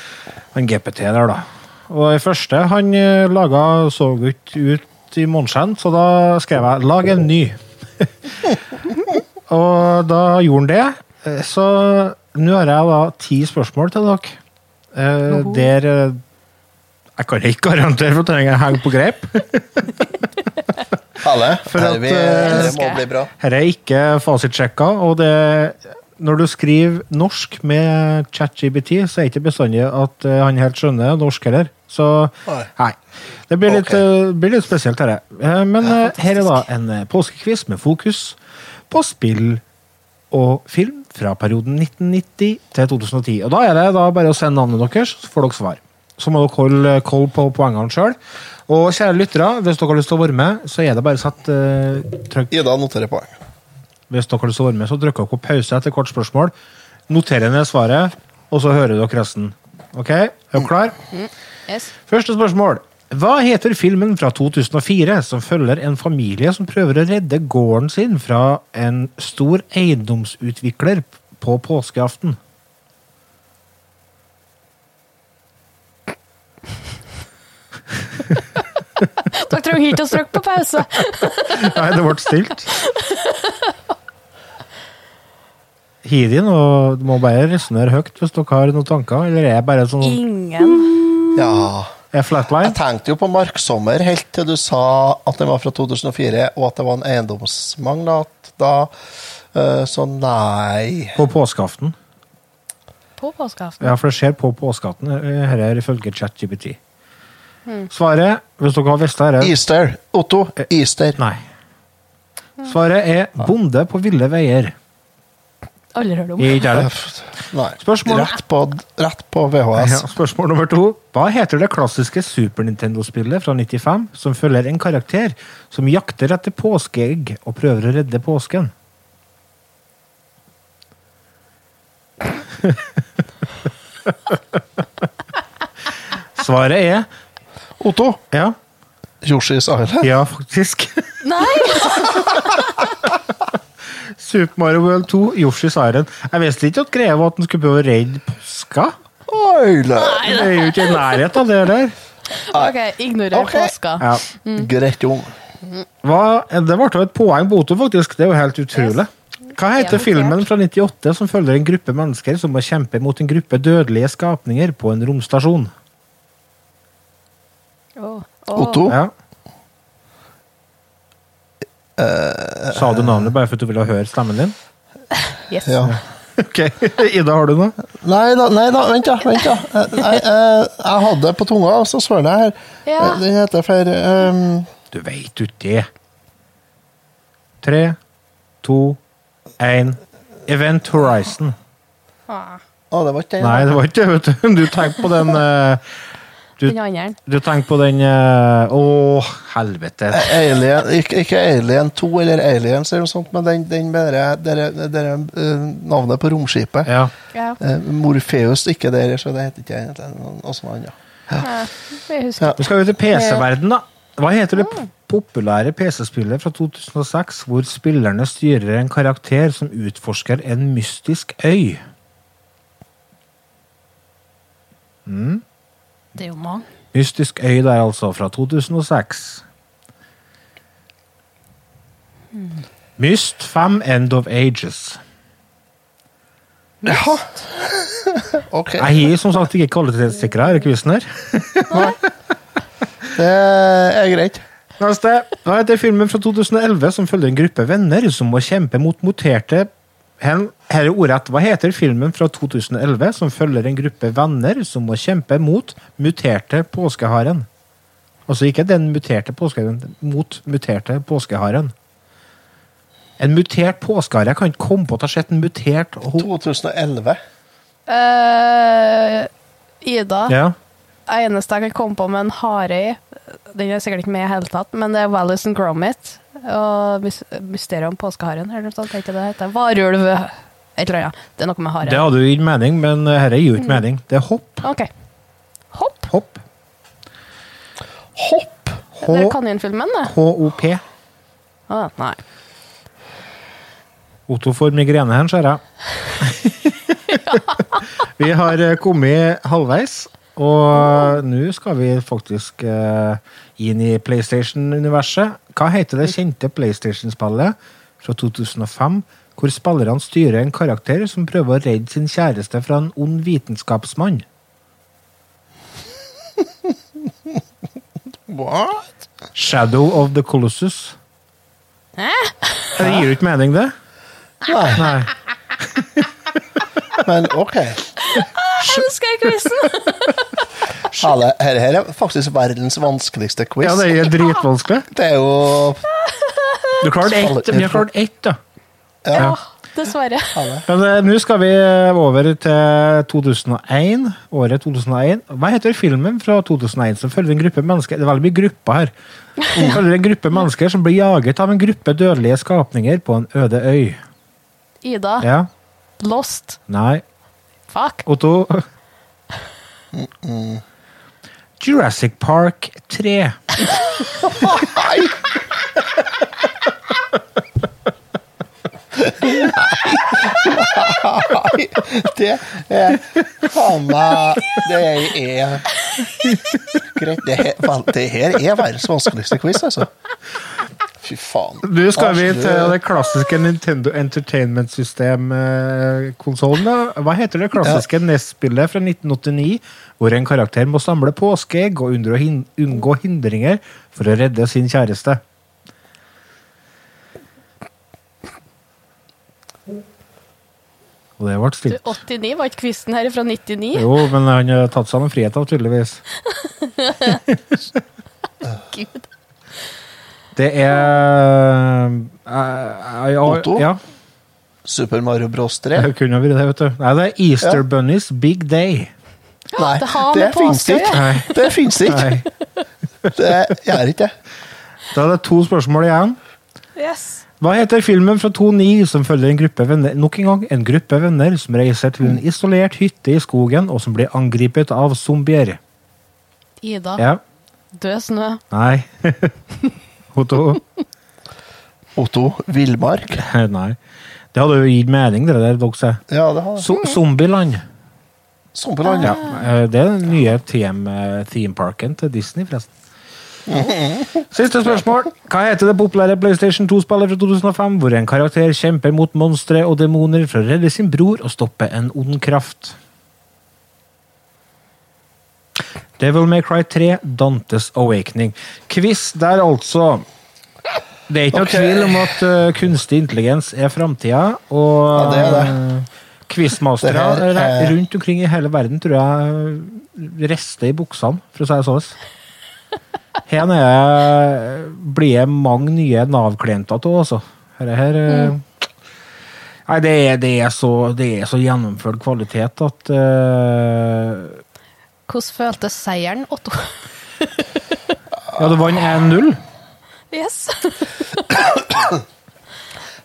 han GPT der, da. Og det første han eh, laga, så ut, ut i måneskinn, så da skrev jeg 'lag en ny'. og da gjorde han det. Eh, Så nå har jeg da ti spørsmål til dere. Eh, Der eh, Jeg kan ikke garantere for at jeg henger på greip.
Alle.
For at,
Her vi,
eh,
det må bli bra.
Her er ikke fasitsjekka, og det når du skriver norsk med ChatGBT, så er det ikke bestandig at eh, han helt skjønner norsk heller. Så
Nei.
nei. Det blir litt,
Ok.
eh, blir litt spesielt, dette. Eh, Men eh, her er da en eh, påskekviss med fokus på spill og film fra perioden 1990 til 2010. Og da er det da bare å sende navnet deres, så får dere svar. Så må dere holde eh, koll på poengene sjøl. Og kjære lyttere, hvis dere har lyst til å være med, så er det bare å sette eh, trykk
Ida noterer poeng.
hvis dere har lyst til å være med, så trykker dere på pause etter kort spørsmål. Noterer ned svaret, og så hører dere resten. Ok, er dere klar?
Yes.
Første spørsmål. Hva heter filmen fra 2004 som følger en familie som prøver å redde gården sin fra en stor eiendomsutvikler på påskeaften?
Dere trenger ikke å trykke på pause.
Nei, det ble stilt. Hidi, nå du må bare resonnere høyt hvis dere har noen tanker. Eller er jeg bare sånn
Ingen.
Ja.
er jeg flatline?
Jeg tenkte jo på Marksommer helt til du sa at den var fra 2004, og at det var en eiendomsmagnat da. Eh, Så nei
På påskeaften?
På påskeaften.
Ja, for det skjer på påskeaften. eh, Her er ifølge ChatGPT. Svaret, hvis dere har visst det her er-
Easter. Otto, Easter.
Eh, Nei. Svaret er 'Bonde på ville veier'.
Aldri hørt om.
I Ikke er det.
Øff. Eh, Nei.
Spørsmål-
Rett på, rett på
Ja,
VHS.
spørsmål nummer to. Hva heter det klassiske Super Nintendo-spillet fra 95 som følger en karakter som jakter etter påskeegg og prøver å redde påsken? Svaret er
Otto.
ja.
Yoshi's Island.
Ja, faktisk.
Nei!
Super Mario World 2, Yoshi's Island. Jeg visste ikke at greia var at den skulle prøve å redde påska.
Oi, le-
Det er jo ikke i nærheten av det der.
Ok, ignorer
Ok.
påska.
Ja.
Greit, Jon.
Hva, det ble jo et poeng på Otto, faktisk. Det er jo helt utrolig. Hva heter
Ja,
filmen fra 98 som følger en gruppe mennesker som må kjempe mot en gruppe dødelige skapninger på en romstasjon?
Åh.
Otto.
Ja. Sa du navnet bare for at du ville høre stemmen din?
Yes.
Ja.
Ok, Ida, har du noe?
Nei da, nei da, vent, da. vent da. Jeg, jeg, jeg, jeg hadde det på tunga, og så svør jeg her. Eh,
Ja.
Den heter for ehm,
Du veit jo det. Tre, to, én Event Horizon.
Å, det var ikke den.
Nei, det var ikke det, vet du. Du tenkte på den eh,
Den andre.
Du tenkte på den eh, Å, helvete.
Eh, Alien, ikke, ikke Alien 2 eller Aliens eller noe sånt, men den, den med dere, dere, dere, eh, navnet på romskipet.
Ja.
Ja,
Eh, Morpheus, ikke dere, så det heter ikke egentlig noe- noe sånt annet.
jeg husker.
Nå skal vi til PC-verden da. Hva heter det populære PC-spillet fra 2006, hvor spillerne styrer en karakter som utforsker en mystisk øy? Hmm?
Det er jo mange.
Mystisk øy der altså, fra 2006. Myst 5 End of Ages.
Ja. ok.
Jeg har som sagt ikke kvalitetssikra her i quizen her.
Det er greit.
Neste. Hva heter filmen fra 2011 som følger en gruppe venner som må kjempe mot moterte Hen- Her er ordrett. Hva heter filmen fra 2011 som følger en gruppe venner som må kjempe mot muterte påskeharen? Altså ikke den muterte påskeharen, mot muterte påskeharen. En mutert påskehare Jeg kan ikke komme på at jeg har sett en mutert ho...
2011.
Eh, Ida.
Ja.
Eneste jeg kan komme på med en hare i, den er sikkert ikke med i hele tatt, men det er Wallis and Gromit og mys Mysteriet om påskeharen, eller noe sånt. tenker jeg det heter. Varulv Et eller annet. Det er noe med
Det
hare.
hadde jo gitt mening, men eh, herre gir jo ikke mening. Det er hopp.
Ok. Hopp.
Hopp.
Hopp!
Det er
H-
kaninfilmen, det.
H-O-P.
Å, nei.
Otto får migrene her, ser jeg. vi har eh, kommet halvveis, og nå skal vi faktisk eh, inn i PlayStation-universet. Hva heter det kjente PlayStation-spillet fra 2005, hvor spillerne styrer en karakter som prøver å redde sin kjæreste fra en ond vitenskapsmann?
What?
Shadow of the Colossus. Det gir jo ikke mening, det.
Nei,
Nei.
men ok.
Elsker jeg quizen!
Alle, her, her er faktisk verdens vanskeligste quiz.
Ja, det er dritvanskelig.
Det er jo
Du klarte ett. Vi har klart ett, da.
Ja, dessverre.
Men eh, nå skal vi eh, over til 2001, året 2001. Hva heter filmen fra 2001 som følger en gruppe mennesker Det er veldig mye grupper her. Som følger en gruppe mennesker som blir jaget av en gruppe dødelige skapninger på en øde øy.
Ida.
Ja?
Lost.
Nei?
Fuck.
Otto? Jurassic Park 3.
Nei! Nei! Det er faen meg Det er Greit, det her, vel, det her er verdens vanskeligste quiz, altså. Fy faen.
Nå skal vi
Asle.
til det klassiske Nintendo Entertainment System-konsollen. Hva heter det klassiske NES-spillet fra 1989, hvor en karakter må samle påskeegg og undre å hin unngå hindringer for å redde sin kjæreste? Og det ble
Du,
stilt.
89 var ikke quizen her fra 99?
Jo, men han har tatt seg noen frihet av, tydeligvis.
Gud.
Det er eh, eh, ja,
Otto?
Ja.
Super Mario Bros. 3.
Det kunne ha vært det, vet du. Nei, det er Easter
Ja.
Bunnies Big Day.
Nei,
det har med
det fins
påske å
ikke! Det fins ikke!
Nei.
Det gjør ikke det.
Da er det to spørsmål igjen.
Yes.
Hva heter filmen fra 2009 som følger en gruppe venner, nok en gang en gruppe venner som reiser til en isolert hytte i skogen, og som blir angrepet av zombier?
Ida. sånn,
Ja.
Død snø.
Nei. Otto?
Otto Villmark.
Nei. Det hadde jo gitt mening, det der, dere sier.
Ja, det har Sånn
Zo- Zombieland.
Zombieland, ja.
Eh, Det er den nye eh, theme, themeparken til Disney, forresten. Siste spørsmål. Hva heter det populære PlayStation 2-spillet fra 2005, hvor en karakter kjemper mot monstre og demoner for å redde sin bror og stoppe en ond kraft? Devil May Cry 3, Dantes Awakening. Quiz der, altså. Det er ikke
Ok.
noe tvil om at eh, kunstig intelligens er framtida,
Ja,
og
det er det.
eh, Quizmastere
Det her
re-
er-
rundt omkring i hele verden tror jeg rister i buksene, for å si det sånn. Her nede blir det mange nye Nav-klienter av, altså. Dette her eh, Nei, det er, det, er så, det er så gjennomført kvalitet at eh,
Hvordan føltes seieren, Otto?
Ja, det E vant 1-0.
Yes.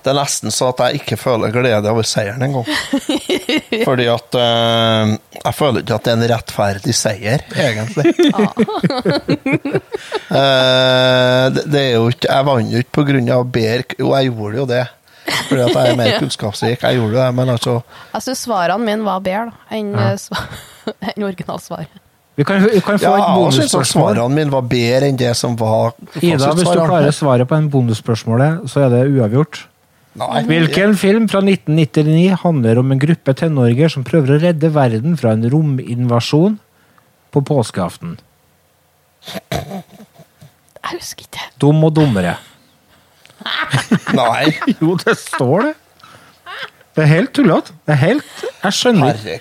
Det er nesten så at jeg ikke føler glede over seieren engang. Fordi at eh, Jeg føler ikke at det er en rettferdig seier, egentlig. Eh, det, det er jo ikke Jeg vant jo ikke på grunn av bedre k- Jo, jeg gjorde jo det. Fordi at jeg er mer kunnskapsrik. Jeg gjorde det, men altså
Jeg syns svarene mine var bedre da, enn eh, sva- enn originalsvaret.
Vi kan, vi kan få et
Ja, jeg syns at
bonusspørsmål.
svarene mine var bedre enn det som var
Ida, hvis du
fasitsvarene.
klarer svaret på en bonusspørsmålet, så er det uavgjort.
Nei.
Hvilken film fra 1999 handler om en gruppe tenåringer som prøver å redde verden fra en rominvasjon på påskeaften?
Jeg husker ikke.
Dum og dummere.
Nei.
Jo, det står det. Det er helt tullete. Det er helt Jeg skjønner ikke.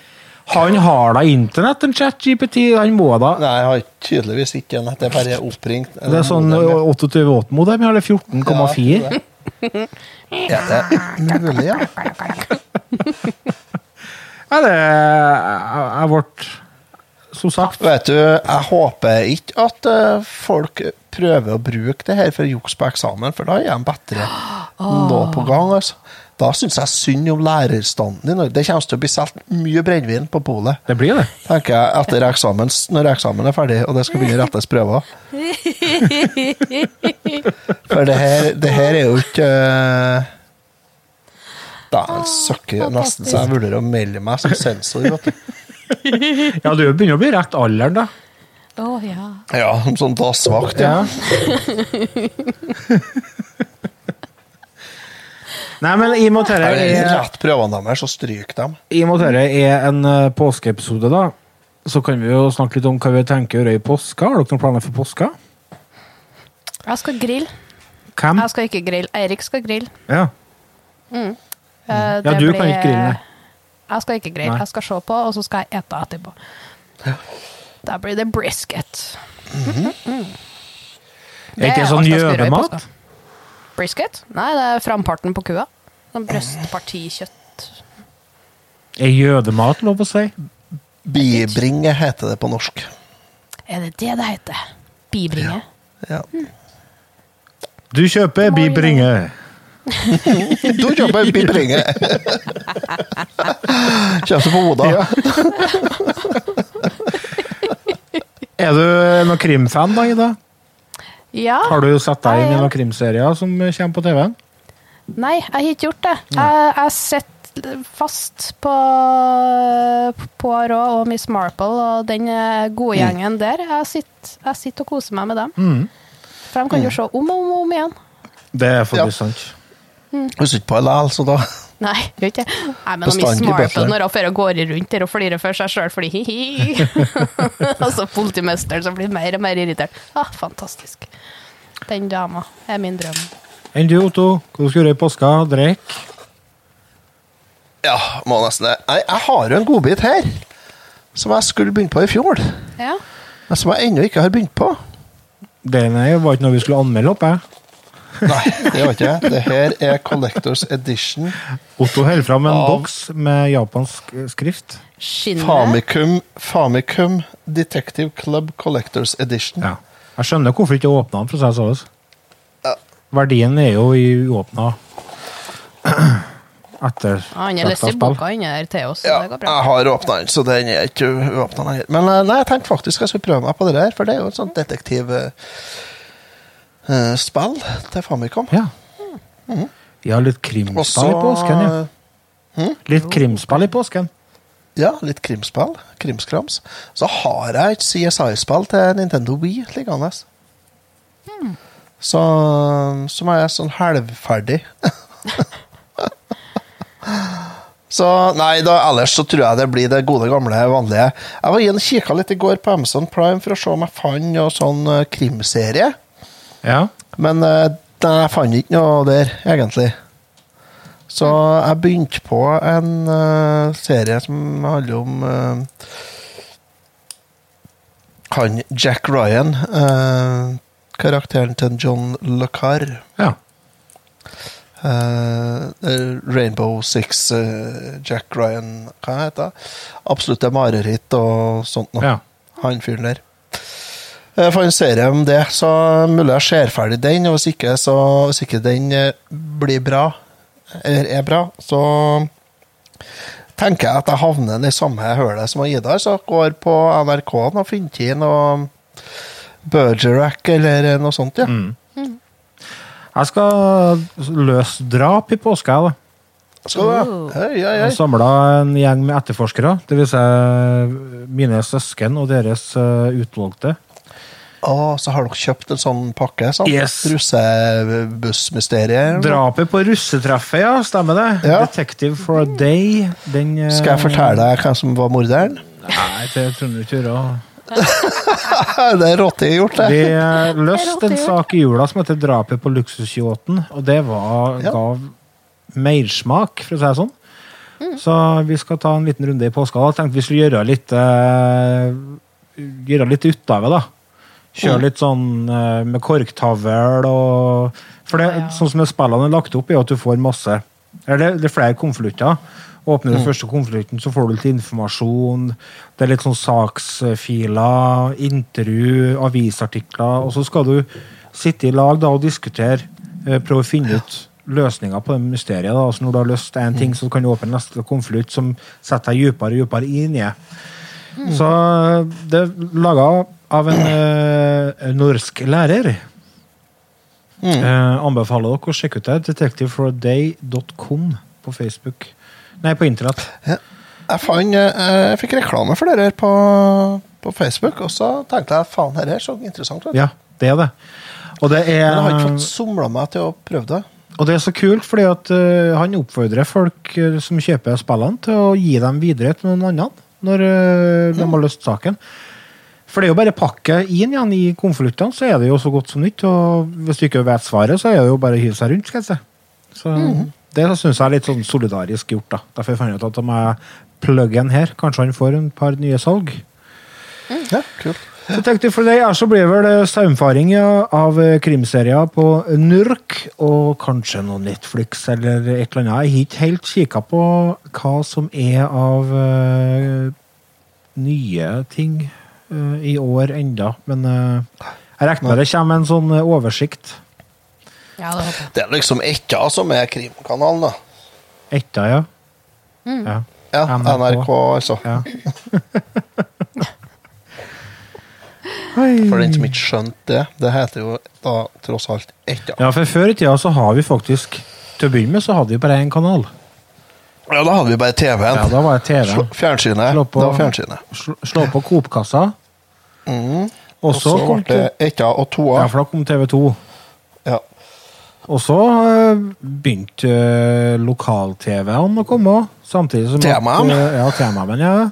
Han
Herregud.
har da internett, en chat-GPT? Han må da
Nei, jeg har tydeligvis ikke en. Det er bare oppringt.
Det er sånn 28-modem, eller 14,4?
Ja, det er mulig, ja.
Ja, det Jeg ble Som sagt
Vet du, jeg håper ikke at eh, folk prøver å bruke det her for juks på eksamen, for da er de bedre nå på gang. altså. Da syns jeg synd om lærerstanden i Norge. Det kommer til å bli solgt mye brennevin på polet,
Det blir det.
tenker jeg, etter eksamen, s- når eksamen er ferdig og det skal begynne rettes prøver. For det her, det her er jo ikke eh, Dæven søkker, nesten så jeg vurderer å melde meg som sensor. vet du.
Ja, du begynner å bli rett alderen, da.
Å ja.
Ja, som sånn dassvakt. Ja.
Nei, men i og med at
Er
dette
det
er-
rett prøvene deres, så stryk dem.
I og med at dette er en eh, påskeepisode, da, så kan vi jo snakke litt om hva vi tenker å gjøre i påska. Har dere noen planer for påska?
Jeg skal grille.
Hvem?
Jeg skal ikke grille. Eirik skal grille.
Ja.
Eh,
Mm. ja,
det
du
blir-
kan ikke grille. nei.
Jeg skal ikke grille.
Nei.
Jeg skal se på, og så skal jeg ete etterpå. Da blir det brisket.
Er Mhm. ikke det sånn
alt jeg skal gjøre i
gjøvemat?
påska. Brisket? Nei, det er framparten på kua. Sånn brystpartikjøtt.
Er jødemat lov å si?
Bibringe heter det på norsk.
Er det det det heter? Bibringe?
Ja.
Du kjøper bibringe.
Du kjøper bibringe! Kjøper på hodet.
Er du noen krimfan, da, Ida?
Ja.
Har du sett deg inn i
Ja, ja.
noen krimserier som eh, kommer på TV-en?
Nei, jeg har ikke gjort det. Jeg, jeg sitter fast på Poirot og Miss Marple og den eh, gode gjengen der. Jeg sitter, jeg sitter og koser meg med dem. For de kan jo se om og om, og om igjen.
Det er
Ja.
faktisk sant.
Husker ikke på det likevel, så da
Nei, gjør ikke det. Nei, men Miss
Bestandig
Marple
bøtter.
når hun fer og går rundt der og flirer for seg sjøl fordi hi-hi. og så politimesteren som blir mer og mer irritert. Ah, fantastisk. Den dama er min drøm.
Enn du, Otto? Hva skal du gjøre i påska? Drikke?
Ja, må nesten det. Nei, jeg har jo en godbit her, som jeg skulle begynne på i fjor.
Ja.
Men som jeg ennå ikke har begynt på.
Det nei, var ikke noe vi skulle anmelde, håper jeg.
Nei, det var ikke jeg. Det her er Collectors Edition.
Otto holder fram en
Av-
boks med japansk eh, skrift.
Skinnet.
Famicum, Famicum Detective Club Collectors Edition.
Ja. Jeg skjønner hvorfor ikke åpna den, for å si det sånn. Verdien er jo i uåpna etter
Ah, Han har lest i boka inni der til oss, så
Ja,
det går bra.
jeg har åpna den, så den er ikke åpna lenger. Men eh, nei, jeg tenkte faktisk jeg skulle prøve meg på det der, for det er jo et sånt detektivspill til Famicom.
Ja. Vi har litt
Og
krimspill
så
i påsken, ja. Litt krimspill i påsken.
Ja, litt krimspill. Krimskrams. Så har jeg et CSI-spill til Nintendo Wii liggende. Så, som er sånn halvferdig. så nei, da, ellers så tror jeg det blir det gode, gamle, vanlige. Jeg var igjen kikka litt i går på Amazon Prime for å se om jeg fant noe sånn eh, krimserie.
Ja.
Men eh, nei, jeg fant ikke noe der, egentlig. Så jeg begynte på en eh, serie som handler om eh, han Jack Ryan, eh, karakteren til John Le Carre.
ja.
Eh, Rainbow Six, eh, Jack Ryan, hva heter det? Absolutte mareritt og sånt noe.
Ja.
Han fyren der. Eh, Jeg får en serie om det, så mulig jeg ser ferdig den. Og hvis ikke, så, hvis ikke den eh, blir bra, eller er bra, så tenker jeg at jeg havner i samme hølet som Idar, så går på NRK-en og finner til noe Bergerac eller noe sånt,
Mm.
ja.
Mhm.
Jeg skal løse drap i påska, jeg, da.
Skal du ha? Hei, hei, hei.
Jeg samla en gjeng med etterforskere, dvs. Si mine søsken og deres eh, utvalgte.
Å, så har dere kjøpt en sånn pakke? sant?
Yes.
Russebussmysteriet?
Drapet på russetreffet, ja, stemmer det?
Ja.
'Detective for a Day'. Den, eh,
Skal jeg fortelle deg hvem som var morderen?
Nei, det tror jeg ikke du gjør.
Det er rått jeg har gjort, det.
Vi løste en sak i jula som heter 'Drapet på luksusyachten', og det var,
Ja.
gav mersmak, for å si det sånn. Så vi skal ta en liten runde i påska. Da tenkte vi skulle gjøre litt eh, Gjøre litt ut av det, da. Kjøre litt sånn eh, med korktavl og For det, sånn som spillene er lagt opp, er jo at du får masse Eller det er flere konvolutter. Åpner du første konvolutten, så får du litt informasjon. Det er litt sånn saksfiler, intervju, avisartikler, og så skal du sitte i lag da og diskutere. eh, Prøve å finne ut løsninger på det mysteriet. da, altså Når du har løst én ting, så kan du åpne neste konvolutt som setter deg dypere og dypere inn i det.
Mm.
Så eh, det er laga av en eh, norsk lærer.
Mm.
Eh, anbefaler dere å sjekke ut det. Detectiveforoday.com på Facebook. Nei, på internett.
Jeg, fant, eh, jeg fikk reklame for det her på, på Facebook, og så tenkte jeg faen, dette her så interessant ut.
Ja, det er det. Og det er
Men jeg har ikke fått somla meg til å prøve det.
Og det er så kult, fordi at eh, han oppfordrer folk eh, som kjøper spillene, til å gi dem videre til noen annen når eh, de har løst saken. For det er jo bare å pakke inn igjen i konvoluttene, så er det jo så godt som nytt. Og hvis du ikke vet svaret, så er det jo bare å hive seg rundt, skal jeg si. Så det syns jeg er litt sånn solidarisk gjort, da. Derfor fant jeg ut at om jeg plugger en her, kanskje han får en par nye salg.
Ja, kult.
Detektiv for deg, så blir vel det saumfaring ja, av eh, krimserier på Nurk, og kanskje noe Netflix eller et eller annet. Jeg har ikke helt kikka på hva som er av eh, nye ting eh, i år enda, men eh, jeg regner det kommer en sånn eh, oversikt
Ja, det håper jeg.
Det er liksom Etta som er krimkanalen, da.
etter, ja. ja.
Ja,
NRK.
NRK, altså.
ja.
For den som ikke skjønte det. Det heter jo da tross alt Etta.
ja, for før i tida så har vi faktisk Til å begynne med så hadde vi bare én kanal.
Ja, da hadde vi bare TV-en.
Ja, da var det TV.
Slå- Fjernsynet.
Slå på-
Det var fjernsynet.
Sl- slå på Coop-kassa. Og
Og så
så kom,
ble det
T-
etta og toa.
ja, for da kom TV 2.
Ja.
Og så eh, begynte eh, lokal-TV-en å komme òg. Samtidig som at,
Temaen?
eh, Ja, temaen, ja.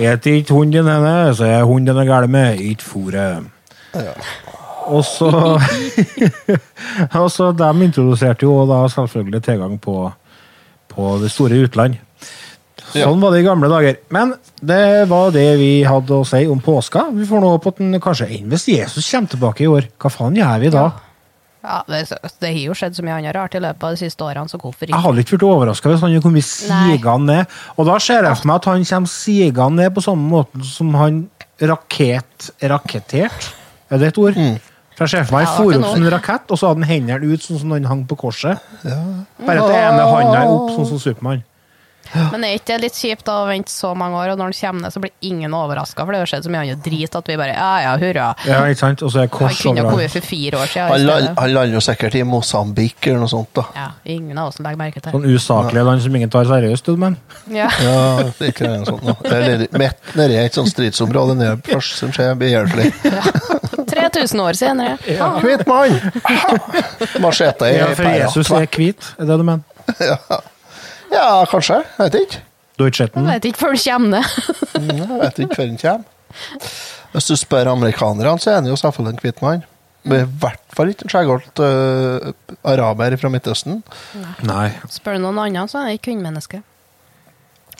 Et ikke hunden henne, så er hunden er gæren med, ikke fôret. Og så Og så de introduserte jo da selvfølgelig tilgang på, på det store utland.
Ja.
Sånn var det i gamle dager. Men det var det vi hadde å si om påska. Vi får nå på den, kanskje enn hvis Jesus kommer tilbake i år. Hva faen gjør vi da?
Ja, det, altså, det har jo skjedd så mye annet rart i løpet av de siste årene, så hvorfor
Jeg
ikke?
hadde ikke blitt overraska hvis han hadde kommet
Nei.
sigende ned. Og da ser jeg for meg at han kommer sigende ned på samme måten som han rakett... Rakettert? Er det et ord? For jeg ser for meg
Ja,
han
det var
for
ikke
opp som en rakett, og så hadde han hendene ut sånn som han hang på korset. Bare at det ene hånda er opp, sånn som Supermann.
Men er ikke det litt kjipt da å vente så mange år, og når han kommer ned, så blir ingen overraska, for det har jo skjedd så mye annet drit at vi bare ja ja, hurra.
Ja, ikke sant? Og så er det
Han
kors
kunne ha kommet
overalt.
for fire år siden. i
Han
stedet.
land- han lander jo sikkert i Mosambik eller noe sånt, da.
Ja, ingen av oss som legger merke til.
Sånn usaklig land som ingen tar seriøst, du, men.
Ja.
Ja, det er ikke noe sånt nå. Eller midt nedi et sånt stridsområde nede på plass som skjer behjelpelig.
3000 år senere.
Hvit mann! Machete i
Ja, for Jesus
pæra.
er hvit, er det du mener?
Ja, kanskje. Jeg vet ikke.
Du har ikke sett
Jeg
den?
vet ikke før du kommer ned.
Jeg vet ikke før den kommer. Hvis du spør amerikanerne, så er han jo selvfølgelig en hvit mann. Men i hvert fall ikke en skjeggholdt øh, araber fra Midtøsten.
Nei.
Spør du noen andre, så er jeg kvinnemenneske.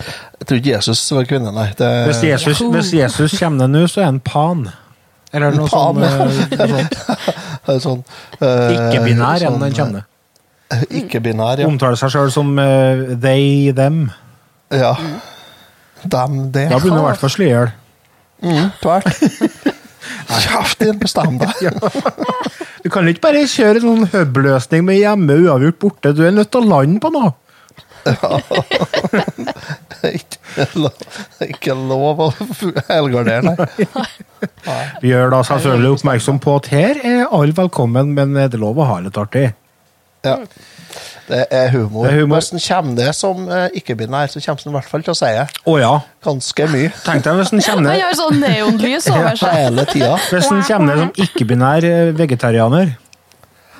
Jeg tror ikke Jesus var kvinne, nei. Det,
Hvis Jesus, hvis Jesus kommer ned nå, så er han pan. Eller noe
Pan,
sånn,
ja.
eh, noe sånt.
det er sånn, øh,
Ikke-binær enn
sånn,
den Mm. kjenner.
øh, Ikke-binær, ja.
Omtaler seg sjøl som eh, they, them.
ja. Dem, det.
Da begynner i hvert fall å slå i hjel.
Mm, Tvert. Kjeft inn, bestem deg.
Du kan ikke bare kjøre en sånn hub-løsning med hjemme uavgjort borte. Du er nødt til å lande på noe.
Ikke lov, ikke lov å helgardere, nei.
Vi gjør da selvfølgelig oppmerksom på at her er alle velkommen, men eh, det er lov å ha litt artig.
Ja. Det er humor.
Det er humor.
Hvis den kommer det som eh, ikke-binær, så kommer den i hvert fall til å si det.
Å ja.
ganske mye.
Tenk deg hvis en
Han
kjenner
har sånn neonlys over seg.
Hele tida.
hvis en kjenner som ikke-binær eh, vegetarianer.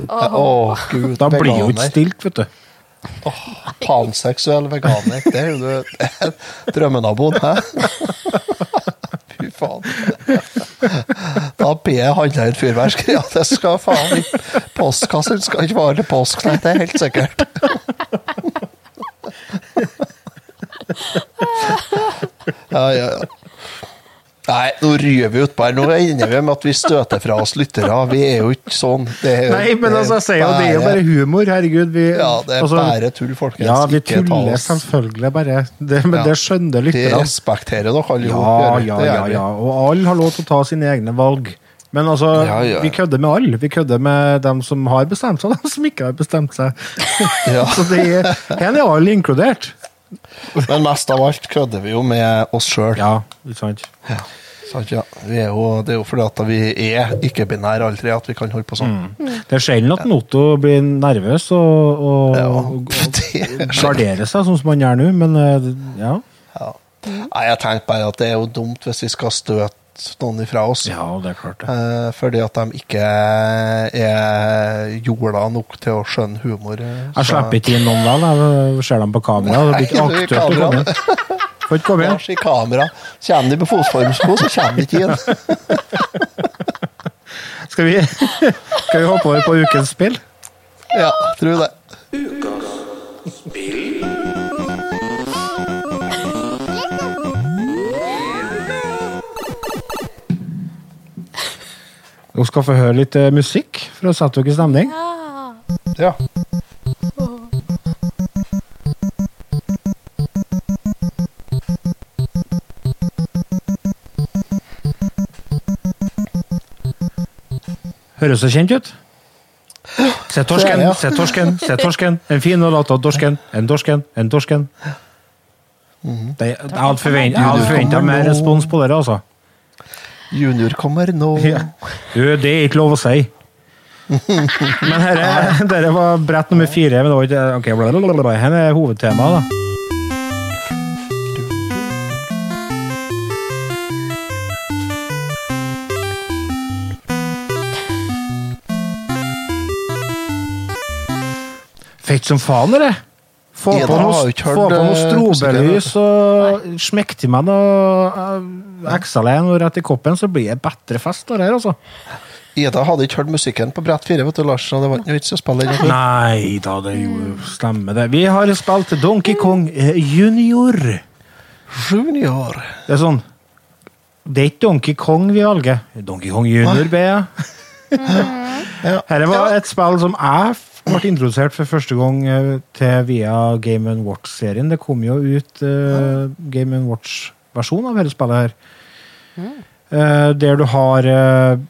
Å, gud.
Da blir jo ikke
veganer.
stilt, vet du.
Panseksuell veganer. Det er jo det- det er drømmenaboen, hæ? Fy faen. Da blir jeg handla ut fyrverkeri. Ja, det skal faen ikke Postkassen skal ikke vare til påsk, nei. Det er helt sikkert. Ja, ja, ja. Nei, nå ryr vi utpå her. Nå ender vi med at vi støter fra oss lyttere. Vi er jo ikke sånn. Det er jo-
Nei, men altså, jeg sier jo det er jo bare humor. Herregud. Vi,
ja, det er
altså,
bare tull, folkens.
Ja, vi
Ikke ta
tuller
oss-
selvfølgelig bare. Det, men
Ja.
det skjønner
Vi
lytterne.
respekterer dere alle.
Ja,
gjør vi.
ja,
Det gjør
ja,
vi.
ja. Og alle har lov til å ta sine egne valg. Men altså,
Ja, ja, ja.
vi kødder med alle. Vi kødder med dem som har bestemt seg, og dem som ikke har bestemt seg.
Ja.
Så det er, her er alle inkludert.
Men mest av alt kødder vi jo med oss sjøl.
Ja, ikke sant.
Ja. Vi er jo- Det er jo fordi at vi er ikke-binære alle tre, at vi kan holde på
Mm.
sånn.
Det er sjelden at en Otto blir nervøs og, og,
Ja.
og, og
Det-
garderer seg, sånn som han gjør nå, men eh, ja.
ja. Nei, jeg tenkte bare at det er jo dumt hvis vi skal støte noen ifra oss.
Ja, det er klart det.
Eh, Fordi at de ikke er jorda nok til å skjønne humor. eh,
Jeg
så-
slipper ikke inn noen vel, jeg ser dem på kamera. Det blir ikke
Nei, du,
aktuelt å komme
kamera.
inn. Får ikke komme inn.
Lars i kamera. Kommer de med fotformsko, så kommer de ikke inn.
Skal vi, skal vi hoppe over på ukens spill?
Ja, tror det.
Dere skal få høre litt eh, musikk for å sette dere i stemning.
Ja.
Høres det kjent ut? Se torsken,
Det er det.
se torsken, se torsken. En fin og lat av torsken. En torsken, en torsken.
Mhm.
Det, jeg hadde forvent- jeg hadde forventa mer respons på dere, altså.
Junior kommer nå.
Ja. Du, det er ikke lov å si. Men herre, dere var brett nummer fire. Men det var ikke, ok, blablabla. Her er hovedtemaet, da. Fett som faen, dere! Få
Ida
på
har
noe,
jo ikke hørt,
få på noe
eh,
strobelys og smekk til meg noe eh, XLN og rett i koppen, så blir det bedre fest. av det her, altså.
Ida hadde ikke hørt musikken på brett fire, vet du, Lars, så det var ikke noe vits i å spille den.
Nei da, det er jo stemmer det. Vi har spilt Donkey Kong eh, Junior. Det
Junior.
er sånn Det er ikke Donkey Kong vi velger. Donkey Kong Junior, ber jeg. Dette var et spill som jeg f- ble introdusert for første gang eh, til via Game Watch-serien. Det kom jo ut eh, Game Watch-versjon av dette spillet her. Eh, der du har eh,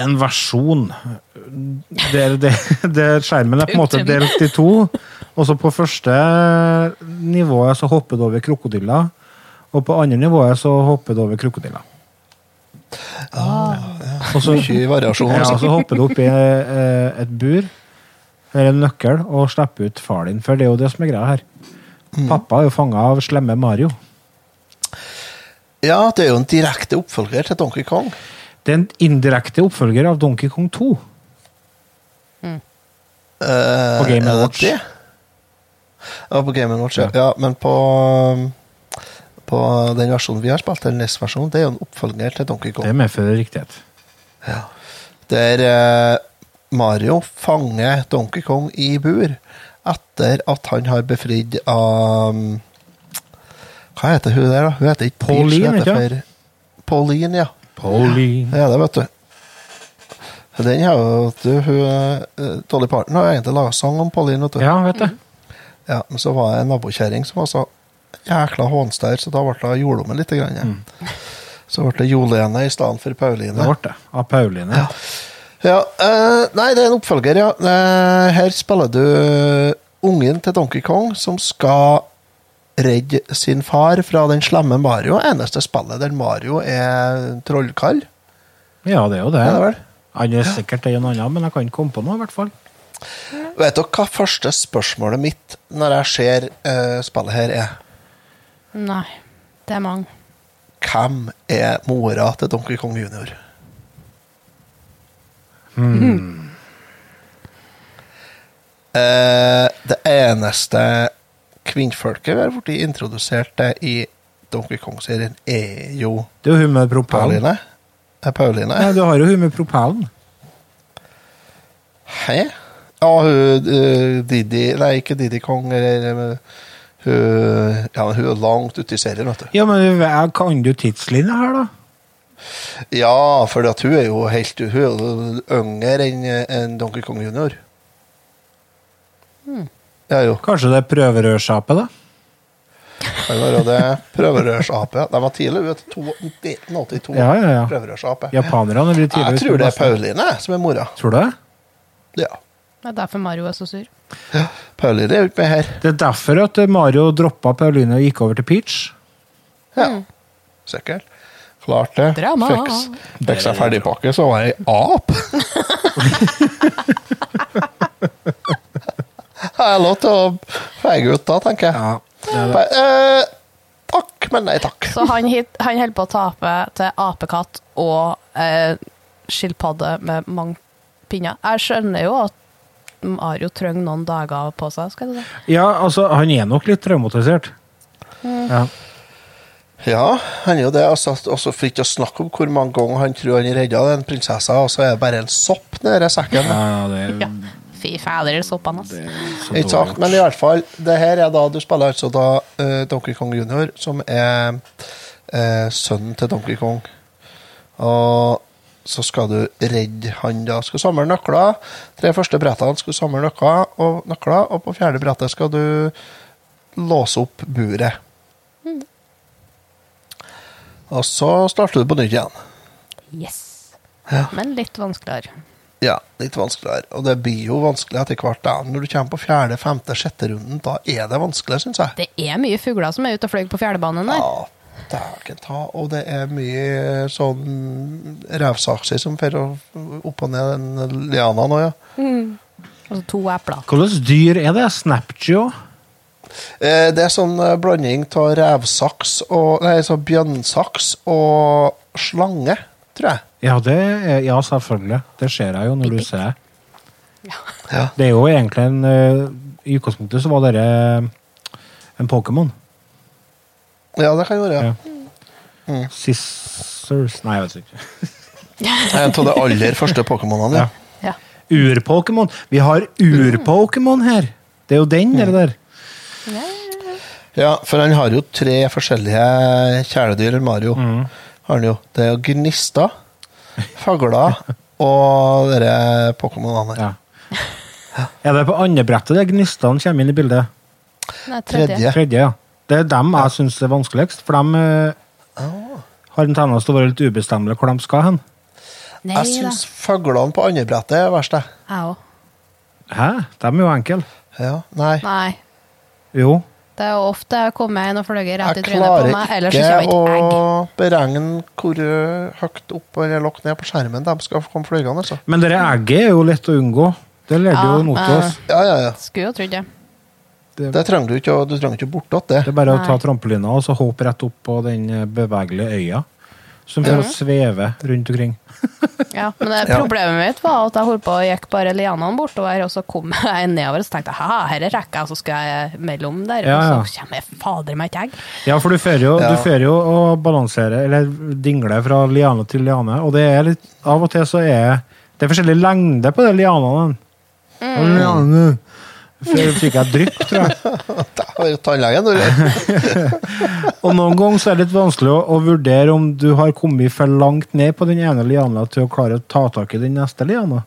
en versjon der, der, der skjermen er på en måte delt i to. Og så på første nivået så hopper du over krokodiller, og på andre nivået så hopper du over krokodiller. Og så
Mye variasjon.
ja,
altså.
så hopper du opp i eh, et bur, eller en nøkkel, og slipper ut far din. For det er jo det som er greia her.
Mm.
Pappa er jo fanga av slemme Mario.
Ja, det er jo en direkte oppfølger til Donkey Kong.
Det er en indirekte oppfølger av Donkey Kong 2.
Eh,
På Game
er det
Watch.
det? Ja, på Game Watch, ja. ja. Men på, um, på den versjonen vi har spilt, den NES-versjonen, det er jo en oppfølger til Donkey Kong.
Det medfører riktighet.
Der eh, Mario fanger Donkey Kong i bur etter at han har befridd av Hva heter hun der, da? Hun heter ikke Peach,
Pauline,
hun heter
ikke
for- Pauline, ja.
Pauline.
Det er det, vet du. Den har jo du, hun, eh, Dolly Parton har jo egentlig laga sang om Pauline. Vet du.
Ja, vet du.
Ja, men så var det en nabokjerring som var så jækla hånstær, så da ble det jordlomme litt. Grann, ja. Så ble det Jolene i stedet for Pauline.
Mm. Det ble det. Av Pauline.
Ja, eh, nei, det er en oppfølger, ja. Eh, her spiller du eh, ungen til Donkey Kong som skal redde sin far fra den slemme Mario. Eneste spillet der Mario er trollkall.
Ja, det er jo det.
Ja, det er vel.
Han er sikkert en annen, men jeg kan ikke komme på noe, i hvert fall.
Vet dere hva første spørsmålet mitt når jeg ser eh, spillet her, er?
Nei. Det er mange.
Hvem er mora til Donkey Kong junior? Eh, det eneste kvinnfolket vi har blitt introdusert til i Donkey Kong-serien, er jo
Det er jo hun med propellen.
Pauline. Er Pauline?
Nei, du har jo hun med propellen.
Hæ? Ja, hun eh, Didi Nei, ikke Didi Kong. Eller, eh, hun, ja, hun er langt ute i serien, vet du.
Ja, men jeg kan du tidslinja her, da?
Ja, for at hun er jo helt Hun er jo yngre enn enn Donkey Kong junior. Ja jo.
Kanskje det er prøverørsapet, da?
Det var jo det prøverørsape. De var tidlig ute. to- 1982.
Ja, ja, ja.
Prøverørsape.
Japanerne blir tidlig
Jeg
ute
tror
med
det er
bassen.
Pauline som er mora.
Tror du det?
Ja.
Det er derfor Mario er så sur.
Pauline er jo ikke med her.
Det er derfor at Mario droppa Pauline og gikk over til Peach.
Ja. Sikkert. Klart det.
Drama.
Fiks- Fikk seg ferdigpakke, så var jeg ap. Jeg er lov til å feige ut da, tenker jeg. Bare, eh, takk, men nei takk.
Så han, hit, han holder på å tape til apekatt og eh, skilpadde med mange pinner. Jeg skjønner jo at Mario trenger noen dager på seg. skal jeg si.
Ja, altså, han er nok litt traumatisert. Ja.
Ja, han er jo det. Altså, og så fikk jeg snakke om hvor mange ganger han tror han redda den prinsessa, og så er det bare en sopp nede i sekken.
Ja, det er
Ja. Fy fader, soppene, ass.
så
Ikke sant? Men i hvert fall, det her er da du spiller altså da eh, Donkey Kong Junior, som er eh, sønnen til Donkey Kong. Og så skal du redde han, da. Skal samle nøkler. Tre første brettene skal du samle nøkler, og, nøkler, og på fjerde brettet skal du låse opp buret. Og så starter du på nytt igjen.
Yes. Men litt vanskeligere.
Ja, litt vanskeligere. Og det blir jo vanskelig etter hvert. da. Når du kommer på fjerde, femte, sjette runden, da er det vanskelig, syns jeg.
Det er mye fugler som er ute og fløy på fjerdebanen der.
Ja, dæken ta. Og det er mye eh, sånn revsakser som fer opp og ned den liana nå, ja.
Altså to epler.
Hvilket dyr er det? Snapgeo?
Eh, Det er sånn eh, blanding av revsaks og Nei, så bjønnsaks og slange, tror jeg.
Ja, det er, ja, selvfølgelig. Det ser jeg jo når du ser det.
Ja.
Det er jo egentlig en eh, I utgangspunktet så var dette en Pokémon.
Ja, det kan være.
Ja.
Ja.
Scissors Nei, jeg vet ikke.
En av de aller første Pokémonene.
Ja.
Ja.
Ja.
Ur-Pokémon. Vi har ur-Pokémon her! Det er jo den, det der.
ja, for han har jo tre forskjellige kjæledyr, Mario. Har han jo. Det er jo gnista, fagla og dere Pokémonene.
Ja. Er det på andre brettet det gnistene kommer inn i bildet?
Nei,
Tredje.
tredje.
Ja.
Tredje, ja. Det er dem jeg syns er vanskeligst, for dem eh,
Ah.
har en tendens til å være litt ubestemmelige hvor de skal hen.
Nei
Jeg
da.
syns fuglene på andrebrettet er verst, jeg.
Jeg òg.
Hæ? De er jo enkle.
Ja, nei.
Nei.
Jo.
Det er jo ofte jeg kommer inn og fløyer rett i
Jeg
trynet
klarer
på meg, ellers så
ikke å
kommer et egg.
beregne hvor ø, høyt opp eller lagt ned på skjermen de skal komme flygende. Altså.
Men det egget er jo lett å unngå. Det leder
Ja,
jo mot
eh.
oss.
Ja, ja, ja.
Skulle jo trodd det.
Det trenger du ikke å, du trenger ikke bortåt det.
Det er bare å
Nei.
ta trampolina og så hoppe rett opp på den eh, bevegelige øya, som får sveve rundt omkring.
Ja, men det,
Ja.
problemet mitt var at jeg holdt på og gikk bare lianene bortover, og så kom jeg nedover, og så tenkte jeg «Haha, her er rekka, og så skal jeg mellom der,
Ja, ja.
og så kommer jeg fader meg et egg.
Ja, for du fører jo,
Ja.
du fører jo å balansere, eller dingle fra liane til liane, og det er litt, av og til så er det er forskjellig lengde på de lianene.
Mm.
Lianene. Før fikk jeg drypp, tror jeg.
Det var jo tannlegen, du.
Og noen ganger så er det litt vanskelig å, å vurdere om du har kommet for langt ned på den ene liana til å klare å ta tak i den neste liana.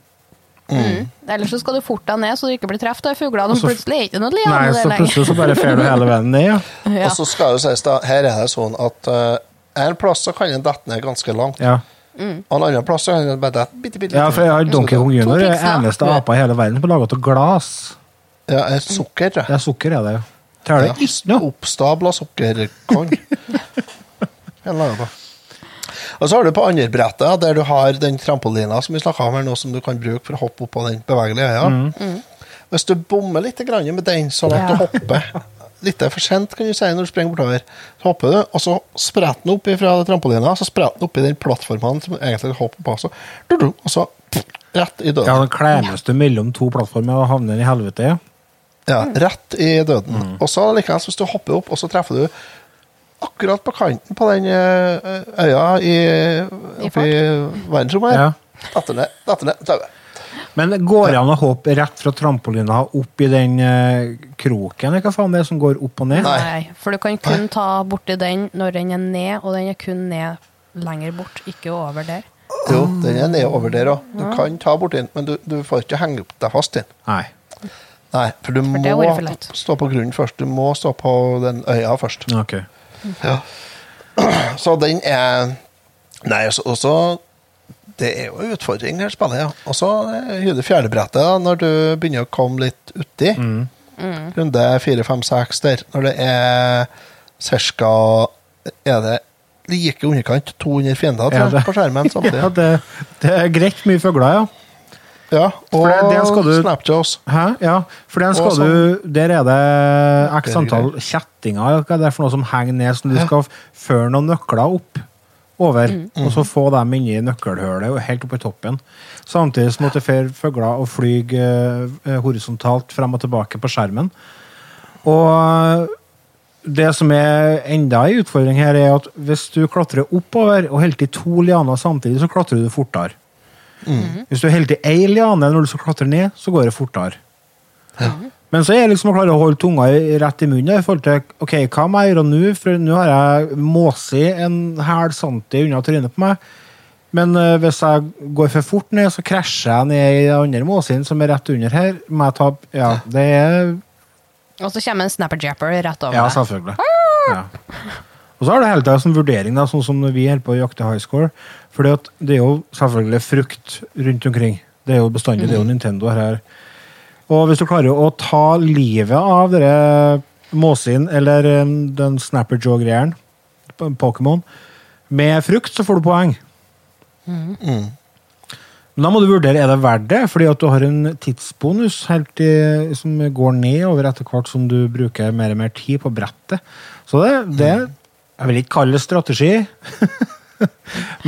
Mm. Ellers så skal du forte deg ned, så du ikke blir treffet av
Mm. Og
fuglene, og
så-
plutselig er det ikke noe liane
Nei,
der
så
lenger.
plutselig så bare fer du hele veien ned, ja.
Ja.
Og så skal det sies, da, her er det sånn at ø, en plass så kan den dette ned ganske langt,
ja.
og en annen plass så kan den bare dette bitte, bitte
Ja, for jeg har Donkey Kong Junior er
piksler.
eneste apa i hele verden som er laget av glass.
Ja, et sukker, tror jeg.
Ja, sukker er det jo. Teller det ikke noe.
Oppstabla sukkerkorn. Hele dagen på. Og så har du på andre brettet, der du har den trampolina som vi snakka om her nå, som du kan bruke for å hoppe opp på den bevegelige øya. Hvis du bommer litt grann med den, sånn at
Ja.
du hopper litt for sent, kan du si, når du springer bortover, så hopper du, og så spretter den opp fra trampolina, så spretter den opp i den plattformen som du egentlig hopper på, så, du, du, og så rett i
Ja,
døden.
den klemmes du mellom to plattformer og havner i helvete. ja.
Ja, rett i døden. Og så likeens, hvis du hopper opp, og så treffer du akkurat på kanten på den eh, øya i, oppe i verdensrommet her.
Ja.
Datter ned, datter ned, dauer.
Men går det an å hoppe rett fra trampolina opp i den eh, kroken, eller hva faen det er som går opp og ned?
Nei.
Nei, for du kan kun ta borti den når den er ned, og den er kun ned lenger bort, ikke over der.
Jo, den er nedover der òg. Du kan ta borti den, men du, du får ikke henge opp deg fast i den.
Nei.
Nei, for du
det
må
hadde vært for lett.
stå på grunnen først. Du må stå på den øya først.
Ok.
Så den er Nei, og så- og så Det er jo en utfordring, det spillet. Ja. Og så har du fjerdebrettet, da, når du begynner å komme litt uti.
Mm.
Runde fire, fem, seks der. Når det er ca. Er det like underkant 200
Ja,
fiender tror jeg,
det-
på skjermen samtidig?
Ja, det, det er greit mye fugler, ja.
Ja, og
For det- det skal du-
Snapjaws.
Hæ? Ja, for den skal
Og sånn-
du Der er det x antall kjettinger, eller hva det er for noe som henger ned, som du skal f- føre noen nøkler opp over, og så få dem inni nøkkelhullet og helt opp i toppen. Samtidig som at det fer fugler og flyr eh, horisontalt frem og tilbake på skjermen. Og eh, det som er enda en utfordring her, er at hvis du klatrer oppover og holder til to lianer samtidig, så klatrer du fortere.
Mm.
Hvis du holder til ei liane når du skal klatre ned, så går det fortere. Men så er det liksom å klare å holde tunga i- rett i munnen i forhold til ok, hva må jeg gjøre nå, for nå har jeg måset en hæl santi unna trynet på meg. Men eh, hvis jeg går for fort ned, så krasjer jeg ned i den andre måsen som er rett under her. Må jeg ta Ja, det er
Og så kommer en snapper-japper rett over
ja,
deg.
selvfølgelig. Ja. Og så er det hele tiden som vurdering, da, sånn som når vi holder på å jakte high score. For det er jo selvfølgelig frukt rundt omkring. Det er jo bestandig, det er jo Nintendo her. Og hvis du klarer å ta livet av dere måsin eller eh, den snapper jaw-greieren, på- Pokémon, med frukt, så får du poeng. Men da må du vurdere, er det verdt det? Fordi at du har en tidsbonus helt til, som går nedover etter hvert som du bruker mer og mer tid på brettet. Så det, det
Mm.
Jeg vil ikke kalle det strategi,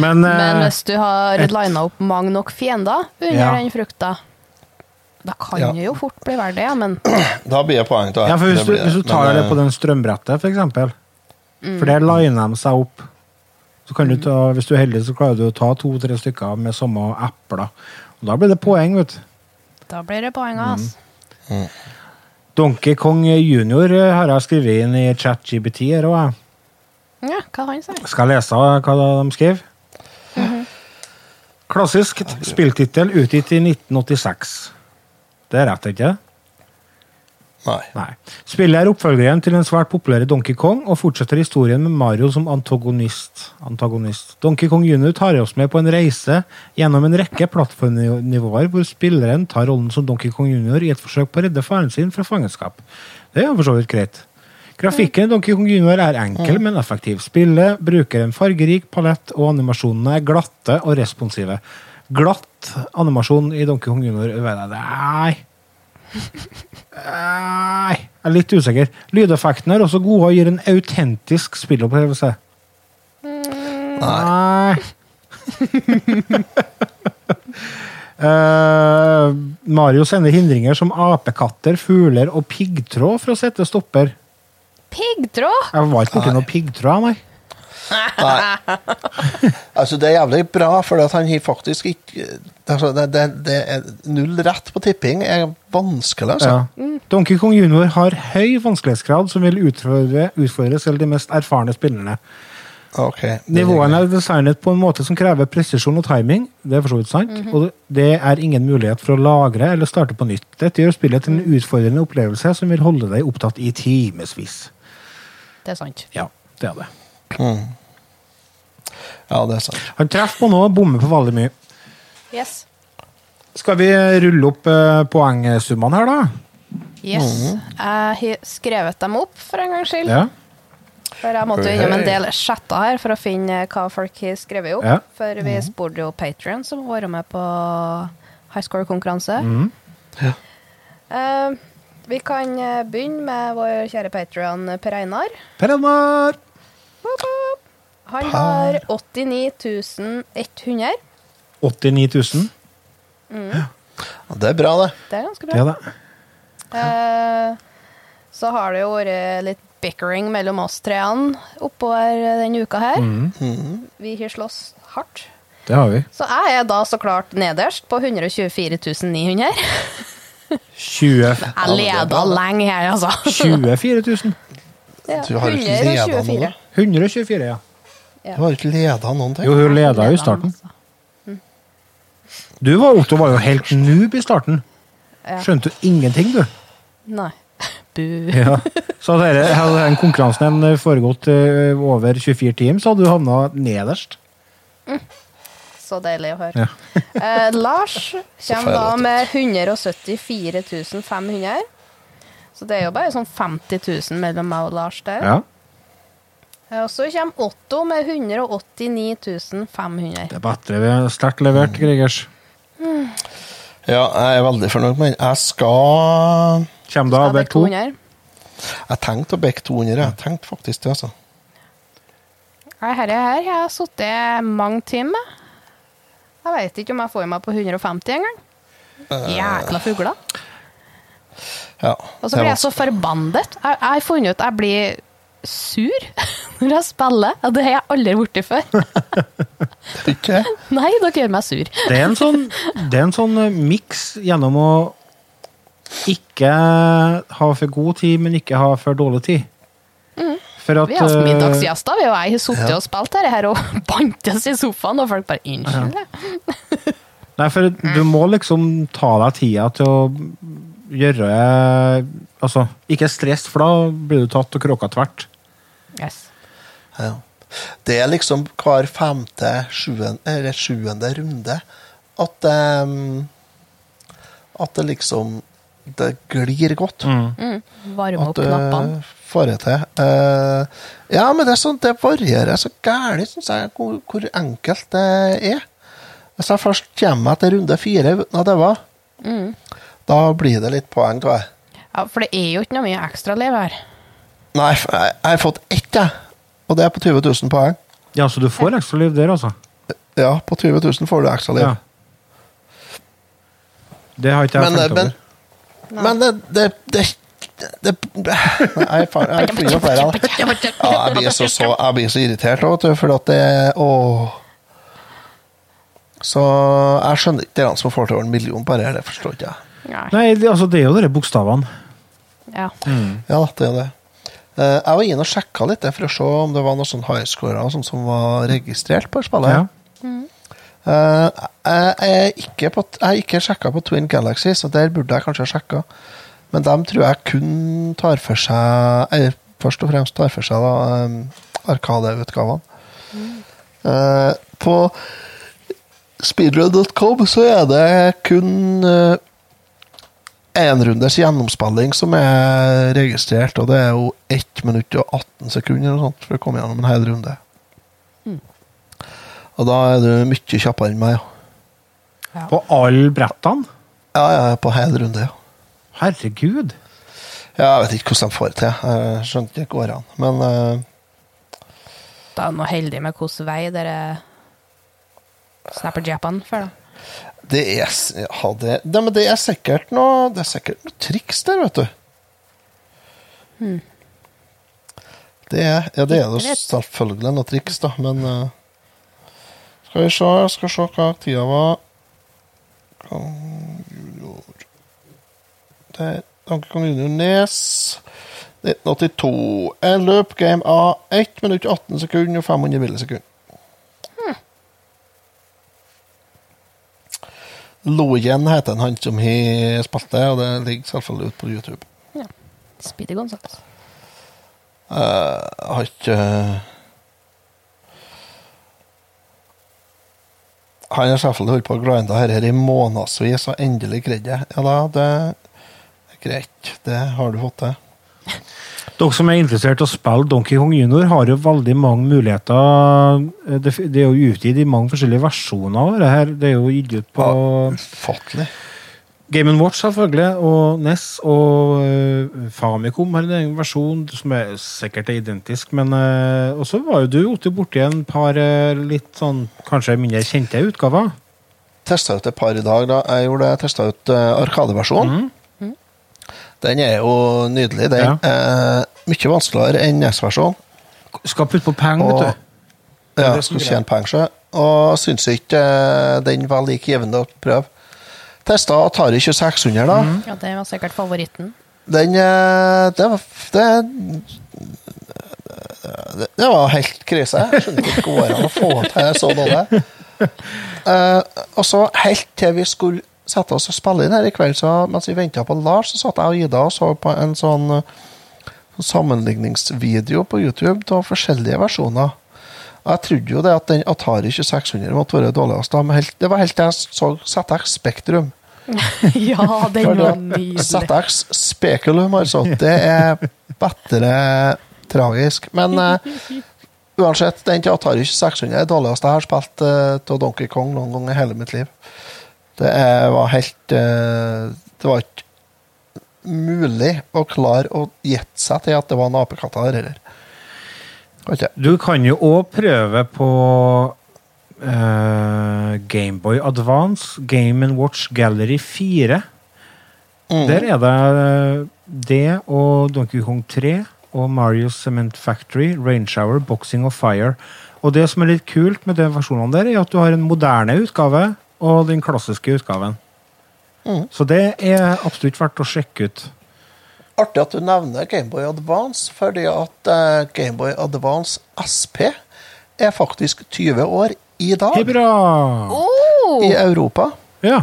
men,
Men
eh,
hvis du har
et-
lina opp mange nok fiender under
Ja.
den frukta, da kan
Ja.
det jo fort bli verdt det, ja, men
Da blir det poeng. Da.
ja, for hvis,
Det
du,
blir det.
hvis du tar
Men, eh,
det på den strømbrettet, for eksempel, for der liner de seg opp. Så kan du ta, hvis du er heldig, så klarer du å ta to-tre stykker med samme epler. Og da blir det poeng, vet du.
da blir det poeng, ass.
Donkey Kong Junior eh, har jeg skrevet inn i ChatGBT her òg, jeg.
Ja, hva han sier.
Skal jeg lese hva de skriver? Klassisk t- spilltittel utgitt i 1986. Det er rett, ikke
Nei.
Nei. Spillet er oppfølgeren til den svært populære Donkey Kong, og fortsetter historien med Mario som antagonist. antagonist. Donkey Kong Jr. tar oss med på en reise gjennom en rekke plattformnivåer, hvor spilleren tar rollen som Donkey Kong Jr. i et forsøk på å redde faren sin fra fangenskap. Det er jo for så vidt greit. Grafikken i Donkey Kong Junior er enkel, men effektiv. Spillet bruker en fargerik palett, og animasjonene er glatte og responsive. Glatt animasjon i Donkey Kong Junior vet jeg det. Nei. Nei. Jeg er litt usikker. Lydeffektene er også gode og gir en autentisk spillopplevelse. Ah. Nei. Eh, Mario sender hindringer som apekatter, fugler og piggtråd for å sette stopper.
Piggtråd!
Jeg var ikke borti noe piggtråd, nei.
Altså, det er jævlig bra, for at han har faktisk ikke altså, det, det, det er Null rett på tipping er vanskelig, altså.
Ja. Donkey Kong Junior har høy vanskelighetsgrad, som vil utfordre, utfordre selv de mest erfarne spillerne.
Ok.
Nivåene er designet på en måte som krever presisjon og timing, det er for så vidt sant, og det er ingen mulighet for å lagre eller starte på nytt. Dette gjør spillet til en utfordrende opplevelse som vil holde deg opptatt i timevis.
Det er sant.
Ja, det er det.
Ja, det er sant.
Han treffer på noe og bommer på veldig mye.
Yes.
Skal vi rulle opp eh, poengsummene her, da?
Yes. Jeg har skrevet dem opp, for en gangs
Mhm.
skyld.
Ja.
For jeg måtte jo innom en del chatter her for å finne eh, hva folk har skrevet opp.
Ja. Mhm.
For vi spurte jo Patrion, som har vært med på high score-konkurranse.
Mhm.
Eh, vi kan eh, begynne med vår kjære Patrion Per Einar.
Per Edmar!
Han har 89 100.
89 000.
Ja, Det er bra, det.
Det er ganske
Det er
bra.
det.
Eh, så har det jo vært litt bickering mellom oss treene oppover denne uka her.
Mm.
Vi har slåss hardt.
Det har vi.
Så jeg er da så klart nederst på 124 900.
20
Jeg leda lenge her, altså.
24 000.
Ja,
Du har jo ikke leda noe.
124.
124, ja.
Du har ikke leda noen ting.
Jo, hun leda jo i starten.
altså. Mm.
Du var, Otto var jo helt noob i starten.
Ja.
Skjønte jo ingenting, du.
Nei. Bu.
Ja. Så hadde dere- hadde den konkurransen den foregått eh, over 24 timer, så hadde du havna nederst.
Så deilig å høre. eh, Lars kommer da med 174 500. Så det er jo bare sånn 50 000 mellom meg og Lars der.
Ja.
Eh, Og så kommer Otto med 189 500.
Det er bedre. Sterkt levert, Gregers.
Ja, jeg er veldig fornøyd med den. Jeg skal
Kjem da over to.
Jeg tenkte å bekke 200. Jeg tenkte faktisk det, altså.
Nei, her er her. Jeg har sittet mange timer. Jeg veit ikke om jeg får meg på 150 engang. Jækla fugler.
Ja,
Og så
det
blir
var-
jeg så forbannet. Jeg jeg har funnet ut at jeg blir sur når jeg spiller. Og det har jeg aldri blitt før.
Ikke det?
Nei, dere gjør meg sur.
Det er en sånn, det er en sånn eh, miks gjennom å ikke ha for god tid, men ikke ha for dårlig tid. For at
Mm. Vi har hatt
eh,
middagsgjester, vi og jeg har sittet og spilt her, her og bantes i sofaen, og folk bare Unnskyld. jeg».
Nei, for du må liksom ta deg tida til å gjøre Altså, ikke stress, for da blir du tatt og kråka tvert.
Yes.
Ja. Det er liksom hver femte, sjuende, eller sjuende runde at em, At det liksom Det glir godt.
Varme
eh,
At
opp knappene.
du får det til. Eh, ja, men det, er sånn, det varierer så gærent, syns jeg, hvor, hvor enkelt det er. Hvis jeg først kommer meg til runde fire uten at det var, da blir det litt poeng, tror jeg.
Ja, for det er jo ikke noe mye ekstraliv her.
Nei, f- jeg jeg har fått ett, jeg. Og det er på 20 000 poeng.
Ja, så du får ekstra liv der, altså.
Ja, på 20 000 får du ekstra liv.
Ja. Det har ikke jeg
men eh,
tenkt
men,
over.
men det, det, det, det Nei, jeg fa- jeg finner jo flere av det. Ja, jeg blir så, så, jeg blir så irritert òg, vet du, for at det Åh. Så jeg skjønner ikke dere som får til over en million på det, det forstår ikke jeg.
Nei.
Nei, det, altså, det er jo de bokstavene.
Ja.
Ja, det er det. Eh, Jeg var inne og eh, sjekka sånn litt det, for å se om det var noen sånne highscorer og sånt som var registrert på spillet.
Ja.
Eh, jeg, jeg er ikke, på- jeg har ikke sjekka på Twin Galaxy, så der burde jeg kanskje ha sjekka. Men dem tror jeg kun tar for seg eller, Først og fremst tar for seg da, um, Arkade-utgavene. Eh, på speedrun.com så er det kun eh, enrundes gjennomspilling som er registrert, og det er jo 1 minutt og 18 sekunder eller noe sånt for å komme gjennom en hel runde. Og da er du mye kjappere enn meg. ja.
På alle brettene?
Ja, ja, på hel runde, ja.
Herregud.
Ja, Jeg vet ikke hvordan de får det til. Jeg skjønte ikke går an. Men eh,
Da er du nå heldig med hvilken vei dere snapper japan for, da.
det er, s- ja, det, det, men det er sikkert noe Det er sikkert noe triks der, vet du. Det er, ja, det er det
Sikkert.
selvfølgelig noe triks, da, men eh, Skal vi se, jeg skal se hva tida var. Kong Junior Der. Anke Kong Junior Nes. 1982. En løp game A. 1 minutt 18 sekunder og 500 millisekunder. Lojen heter han, han som har spilt det, og det ligger selvfølgelig ute på YouTube.
Ja. Speedy Gonzales.
Eh, Jeg har ikke eh, Han har selvfølgelig holdt på å grinde her, her i månedsvis, og endelig greide jeg Ja da, det er greit. Det har du fått til.
Dere som er interessert i å spille Donkey Kong Junior, har jo veldig mange muligheter. Eh, Det, det er jo utgitt i mange forskjellige versjoner. av Det, her. det er jo gitt ut på
Ufattelig.
Game Watch, selvfølgelig, og NES og eh, Famicom har en egen versjon, som er sikkert er identisk, men eh, Og så var jo du Otto, borti en par eh, litt sånn kanskje mindre kjente utgaver.
Testa ut et par i dag, da. Jeg gjorde det. Testa ut eh, Arkadeversjonen. Den er jo nydelig, den. Eh, mye vanskeligere enn NES-versjonen.
Skal putte på penger,
Og-
vet du.
Ja,
det som
skulle
er
tjene penger sjø. Og syns ikke eh, den var like givende å prøve. Testa Atari 2600, da.
Ja, det var sikkert favoritten.
Den eh, Det var det, det, det var helt krise. Jeg skjønner ikke hvordan det går an å få til så dårlig. Eh, og så helt til vi skulle sette oss og spille inn her i kveld, så, mens vi venta på Lars, så satt jeg og Ida og så på en sånn eh, sammenligningsvideo på YouTube av forskjellige versjoner. Og Jeg trodde jo det at den Atari 2600 måtte være dårligst, da, men helt, det var helt til jeg så ZX Spektrum.
ja, den var nydelig.
ZX Spekulum, altså. Det er bedre tragisk. Men eh, uansett, den til Atari 600 er det dårligste jeg har spilt eh, av Donkey Kong noen gang i hele mitt liv. Det er, var helt eh, Det var ikke mulig å klare å gjette seg til at det var en apekatt her, eller. Vet ikke.
Du kan jo òg prøve på eh, Gameboy Advance, Game and Watch Gallery 4. Der er det eh, det og Donkey Kong 3 og Mario Cement Factory, Rain Shower, Boxing og Fire. Og det som er litt kult med de versjonene der, er at du har en moderne utgave og den klassiske utgaven. Så det er absolutt verdt å sjekke ut.
Artig at du nevner Gameboy Advance, fordi at eh, Gameboy Advance SP er faktisk 20 år i dag
Det er bra!
i Europa.
Ja.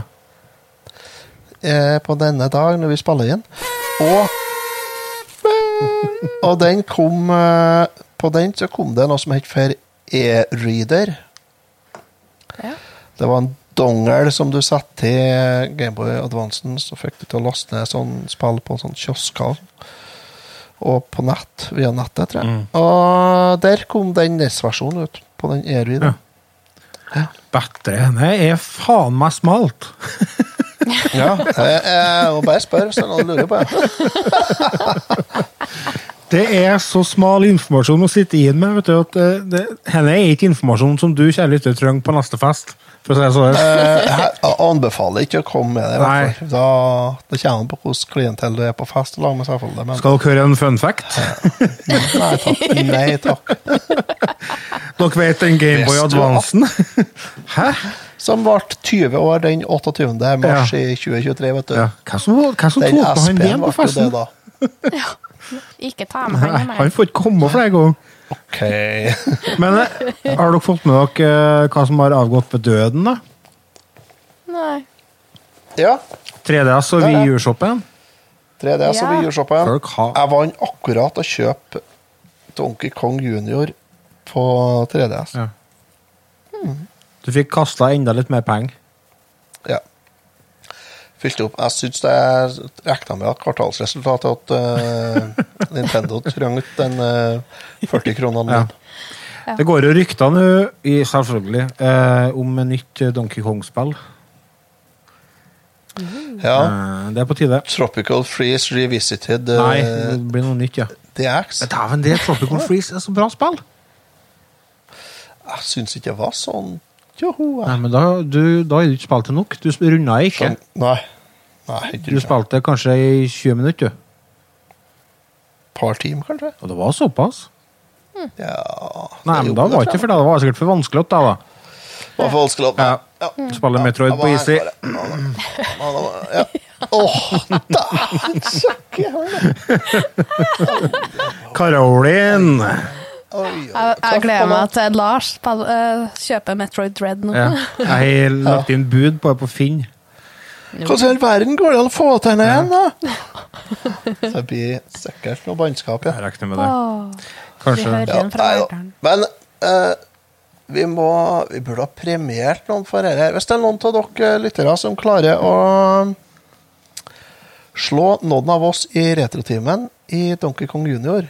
eh, på denne dag når vi spiller inn. Og Og den kom eh, På den så kom det noe som het for e-reader.
Ja.
Det var en dongel som du satte til Gameboy Advancen, så fikk du til å laste ned sånn spill på sånn kiosker. Og på nett, via nettet, tror jeg. Og der kom den NES-versjonen ut, på den e-readeren.
Bedre. Det er faen meg smalt!
Ja. Jeg, jeg må bare spørre hvis det er noe du lurer på. Ja.
Det er så smal informasjon å sitte inn med. vet du, at eh, det, Henne er ikke informasjon som du kjære lytter trenger på neste fest. for å si det sånn.
Eh, Jeg anbefaler ikke å komme med det. i hvert
Nei.
fall. Da, det kommer an på hvordan klientell du er på fest i lag med, selvfølgelig. Men
Skal dere høre en fun fact?
nei takk. Nei, takk.
Dere vet den Gameboy
Visste du
Advancen? Hæ?
Som ble 20 år den 28. mars i 2023, vet du.
Ja. Hva som, hva som
Den
tok på han
SP-en
den
ble
på
jo det,
festen?
da.
Ikke ta med
Nei,
han
han
med.
får ikke komme flere ganger.
OK.
Men eh, har dere fått med dere eh, hva som har avgått ved døden, da?
Nei.
ja.
3DS og
Ja, ja.
Wii U-shoppen?
3DS og
Ja.
Wii U-shoppen.
Folk har-
Jeg vant akkurat å kjøpe Donkey Kong Junior på 3DS.
Ja. Du fikk kasta enda litt mer penger.
Ja. Fylte opp. Jeg syns jeg regna med at kvartalsresultatet at eh, Nintendo trang ut den eh, 40
Ja.
kronene. min.
Det går jo rykter nå, i- selvfølgelig, eh, om en nytt eh, Donkey Kong-spill.
Ja.
Eh, det er på tide.
Tropical Freeze Revisited eh,
Nei, det blir noe nytt, ja.
DX.
Men Dæven, det Tropical Freeze er så bra spill!
Jeg syns ikke det var sånn joho.
Nei,
jeg.
men da, du, da har du ikke spilt det nok. Du sp- runda ikke.
Sånn, nei. Nei, ikke
Du spilte kanskje i 20 minutter, du.
et par timer, kanskje.
Og det var såpass?
Hm.
Ja,
Nei, men da var det ikke for deg. Det var sikkert for vanskelig at da, da.
Det var for vanskelig.
Ja.
Ja.
Spille Metroid på
Ja,
Easy.
bare- Ja, da var- ja. Åh, dæven søkke!
Karolin!
Oi, oi.
Jeg, jeg gleder meg til Lars spiller- eh, kjøper Metroid Dread nå.
Ja. Jeg har lagt inn bud på det på Finn.
Hvordan i all verden går det an å få til henne igjen, da? Så Det blir sikkert noe bannskap, ja.
Jeg regner med det.
Åh, vi
Kanskje.
hører
ja
igjen fra
nei da.
Verdalen.
Men eh, vi må Vi burde ha premiert noen for dette. Hvis det er noen av dere lyttere som klarer å slå noen av oss i retrotimen i Donkey Kong Junior,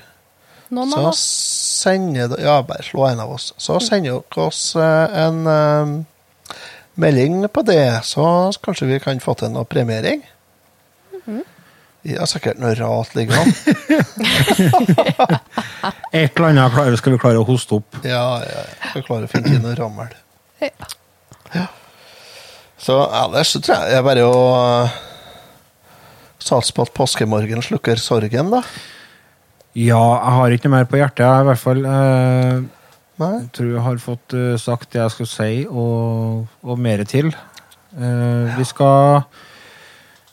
Noen av
så
oss. Mm.
sender d- Ja, bare slå en av oss. Så sender dere oss eh, en eh, melding på det, så kanskje vi kan få til noe premiering.
Mm-hmm.
Vi har sikkert noe rart liggende.
Et eller annet klarer- skal vi klare å hoste opp.
ja, ja, ja. Skal klare å finne inn noe rammel.
Ja.
Så ellers så tror jeg det er bare å eh, satse på at påskemorgen slukker sorgen, da.
Ja, jeg har ikke noe mer på hjertet, jeg, i hvert fall. Eh,
Nei?
Jeg tror jeg har fått eh, sagt det jeg skulle si, og, og mer til. Eh, Vi skal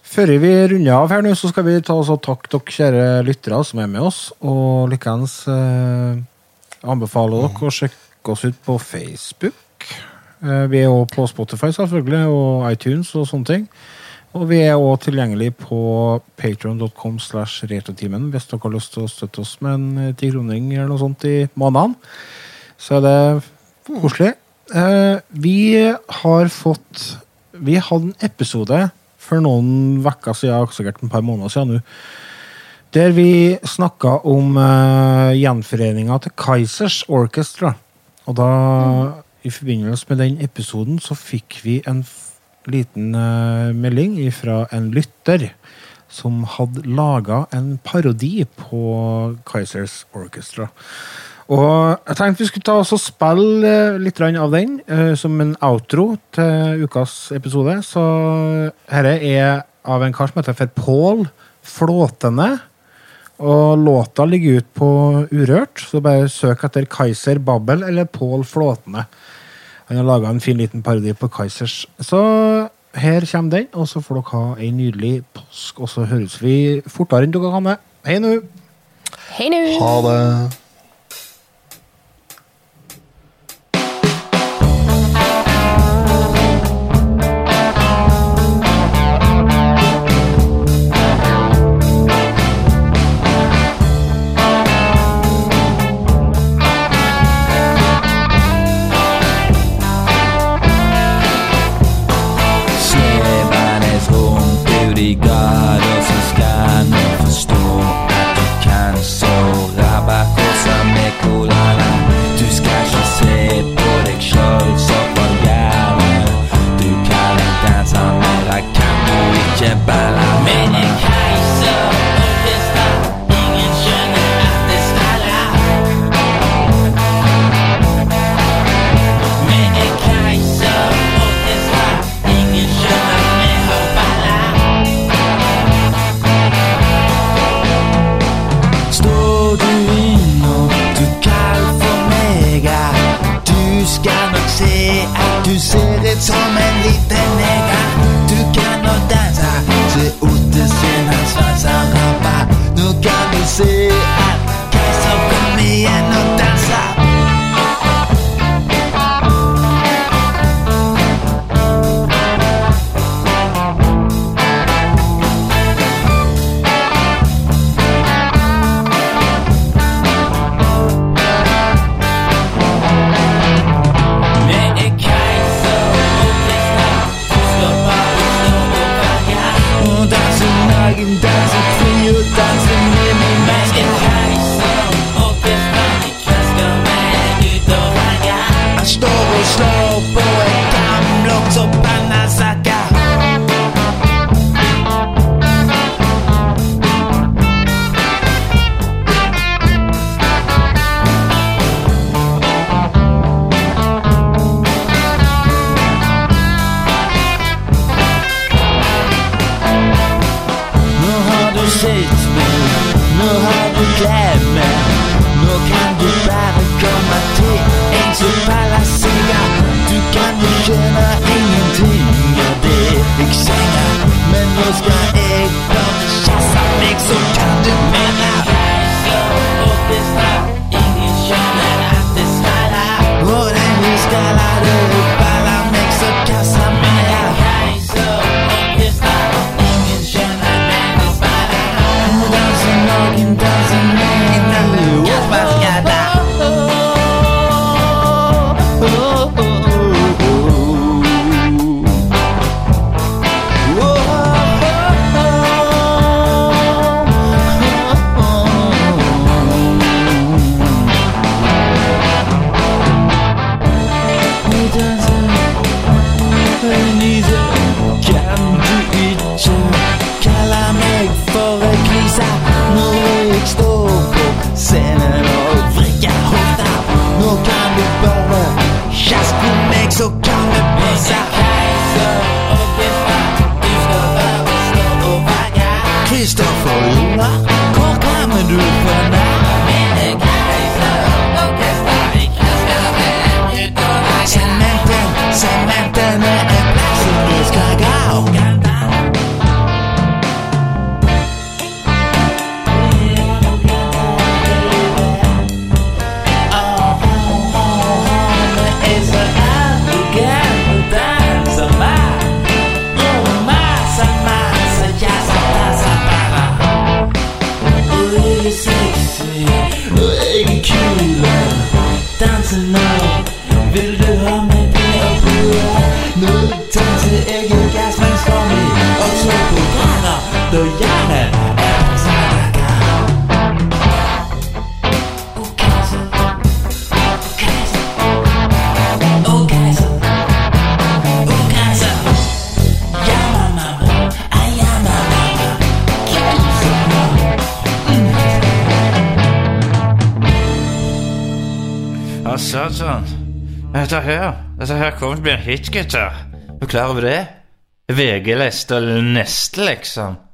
Før vi runder av her nå, så skal vi ta oss og takke dere kjære lyttere som er med oss, og likeens eh, anbefaler dere å sjekke oss ut på Facebook. Eh, vi er òg på Spotify, selvfølgelig, og iTunes og sånne ting. Og vi er òg tilgjengelig på patron.com slash retrotimen hvis dere har lyst til å støtte oss med en eh, tikroning eller noe sånt i måneden så er det koselig. Eh, vi har fått Vi hadde en episode for noen uker siden, sikkert et par måneder siden nå, der vi snakka om uh, gjenforeninga til Kaizers Orchestra. Og da, i forbindelse med den episoden, så fikk vi en f liten eh, melding fra en lytter som hadde laga en parodi på Kaizers Orchestra. Og jeg tenkte vi skulle ta oss og spille eh, litt grann av den eh, som en outro til ukas episode. Så dette er av en kar som heter for Pål Flåtene. Og låta ligger ut på Urørt, så bare søk etter Kaiser Babbel eller Pål Flåtene. Han har laga en fin liten parodi på Kaizers. Så her kommer den, og så får dere ha ei nydelig påsk, og så høres vi fortere enn dere kan det. Hei nå!
Hei nå!
Ha det.
Snedbandet runt ut i gator som ska nu förstå att du kan så rabakosa med kolarna Du ska inte se på dig själv som en hjärna Du kan inte dansa mera, kan du inte balla Men en kaiser, orkester, ingen känner att det skallar Men en kaiser, orkester, ingen känner att det har ballat Står du innom, du kall for mega Du skal nok se at du ser ut som en liten neger Du kan nok danse til Ottesen han svanser rampa Nå kan du se at Kaiser kom igjen og dans Nå har du gledd meg. Nå kan du bare komme til en som faller senga. Du kan jo skjønne ingenting av det jeg sier. Men nå skal jeg bare kjasse deg, så kan du mene. Og den vil skalle deg opp alle meg, så kassa meg. Danser naken, danser naken, alle oppvaskede. Vi danser Venise Kan du ikke kalle meg for en krise Når jeg står på scenen og vrikker hofta Nå kan du bare kjaske på meg Så kan vi pisse Kristoffer Jola, hvor kommer du fra nå? Cementen, cementen er plassen du skal gå Danse nå, vil du ha meg til å bue? Nå danser jeg i gassmengskår mi, og så på grader, da hjernen er på samme
Ja, sånn, sånn. Dette her, dette her kommer til å bli en hit, gutter. Er du klar over det? VG-liste eller neste, liksom.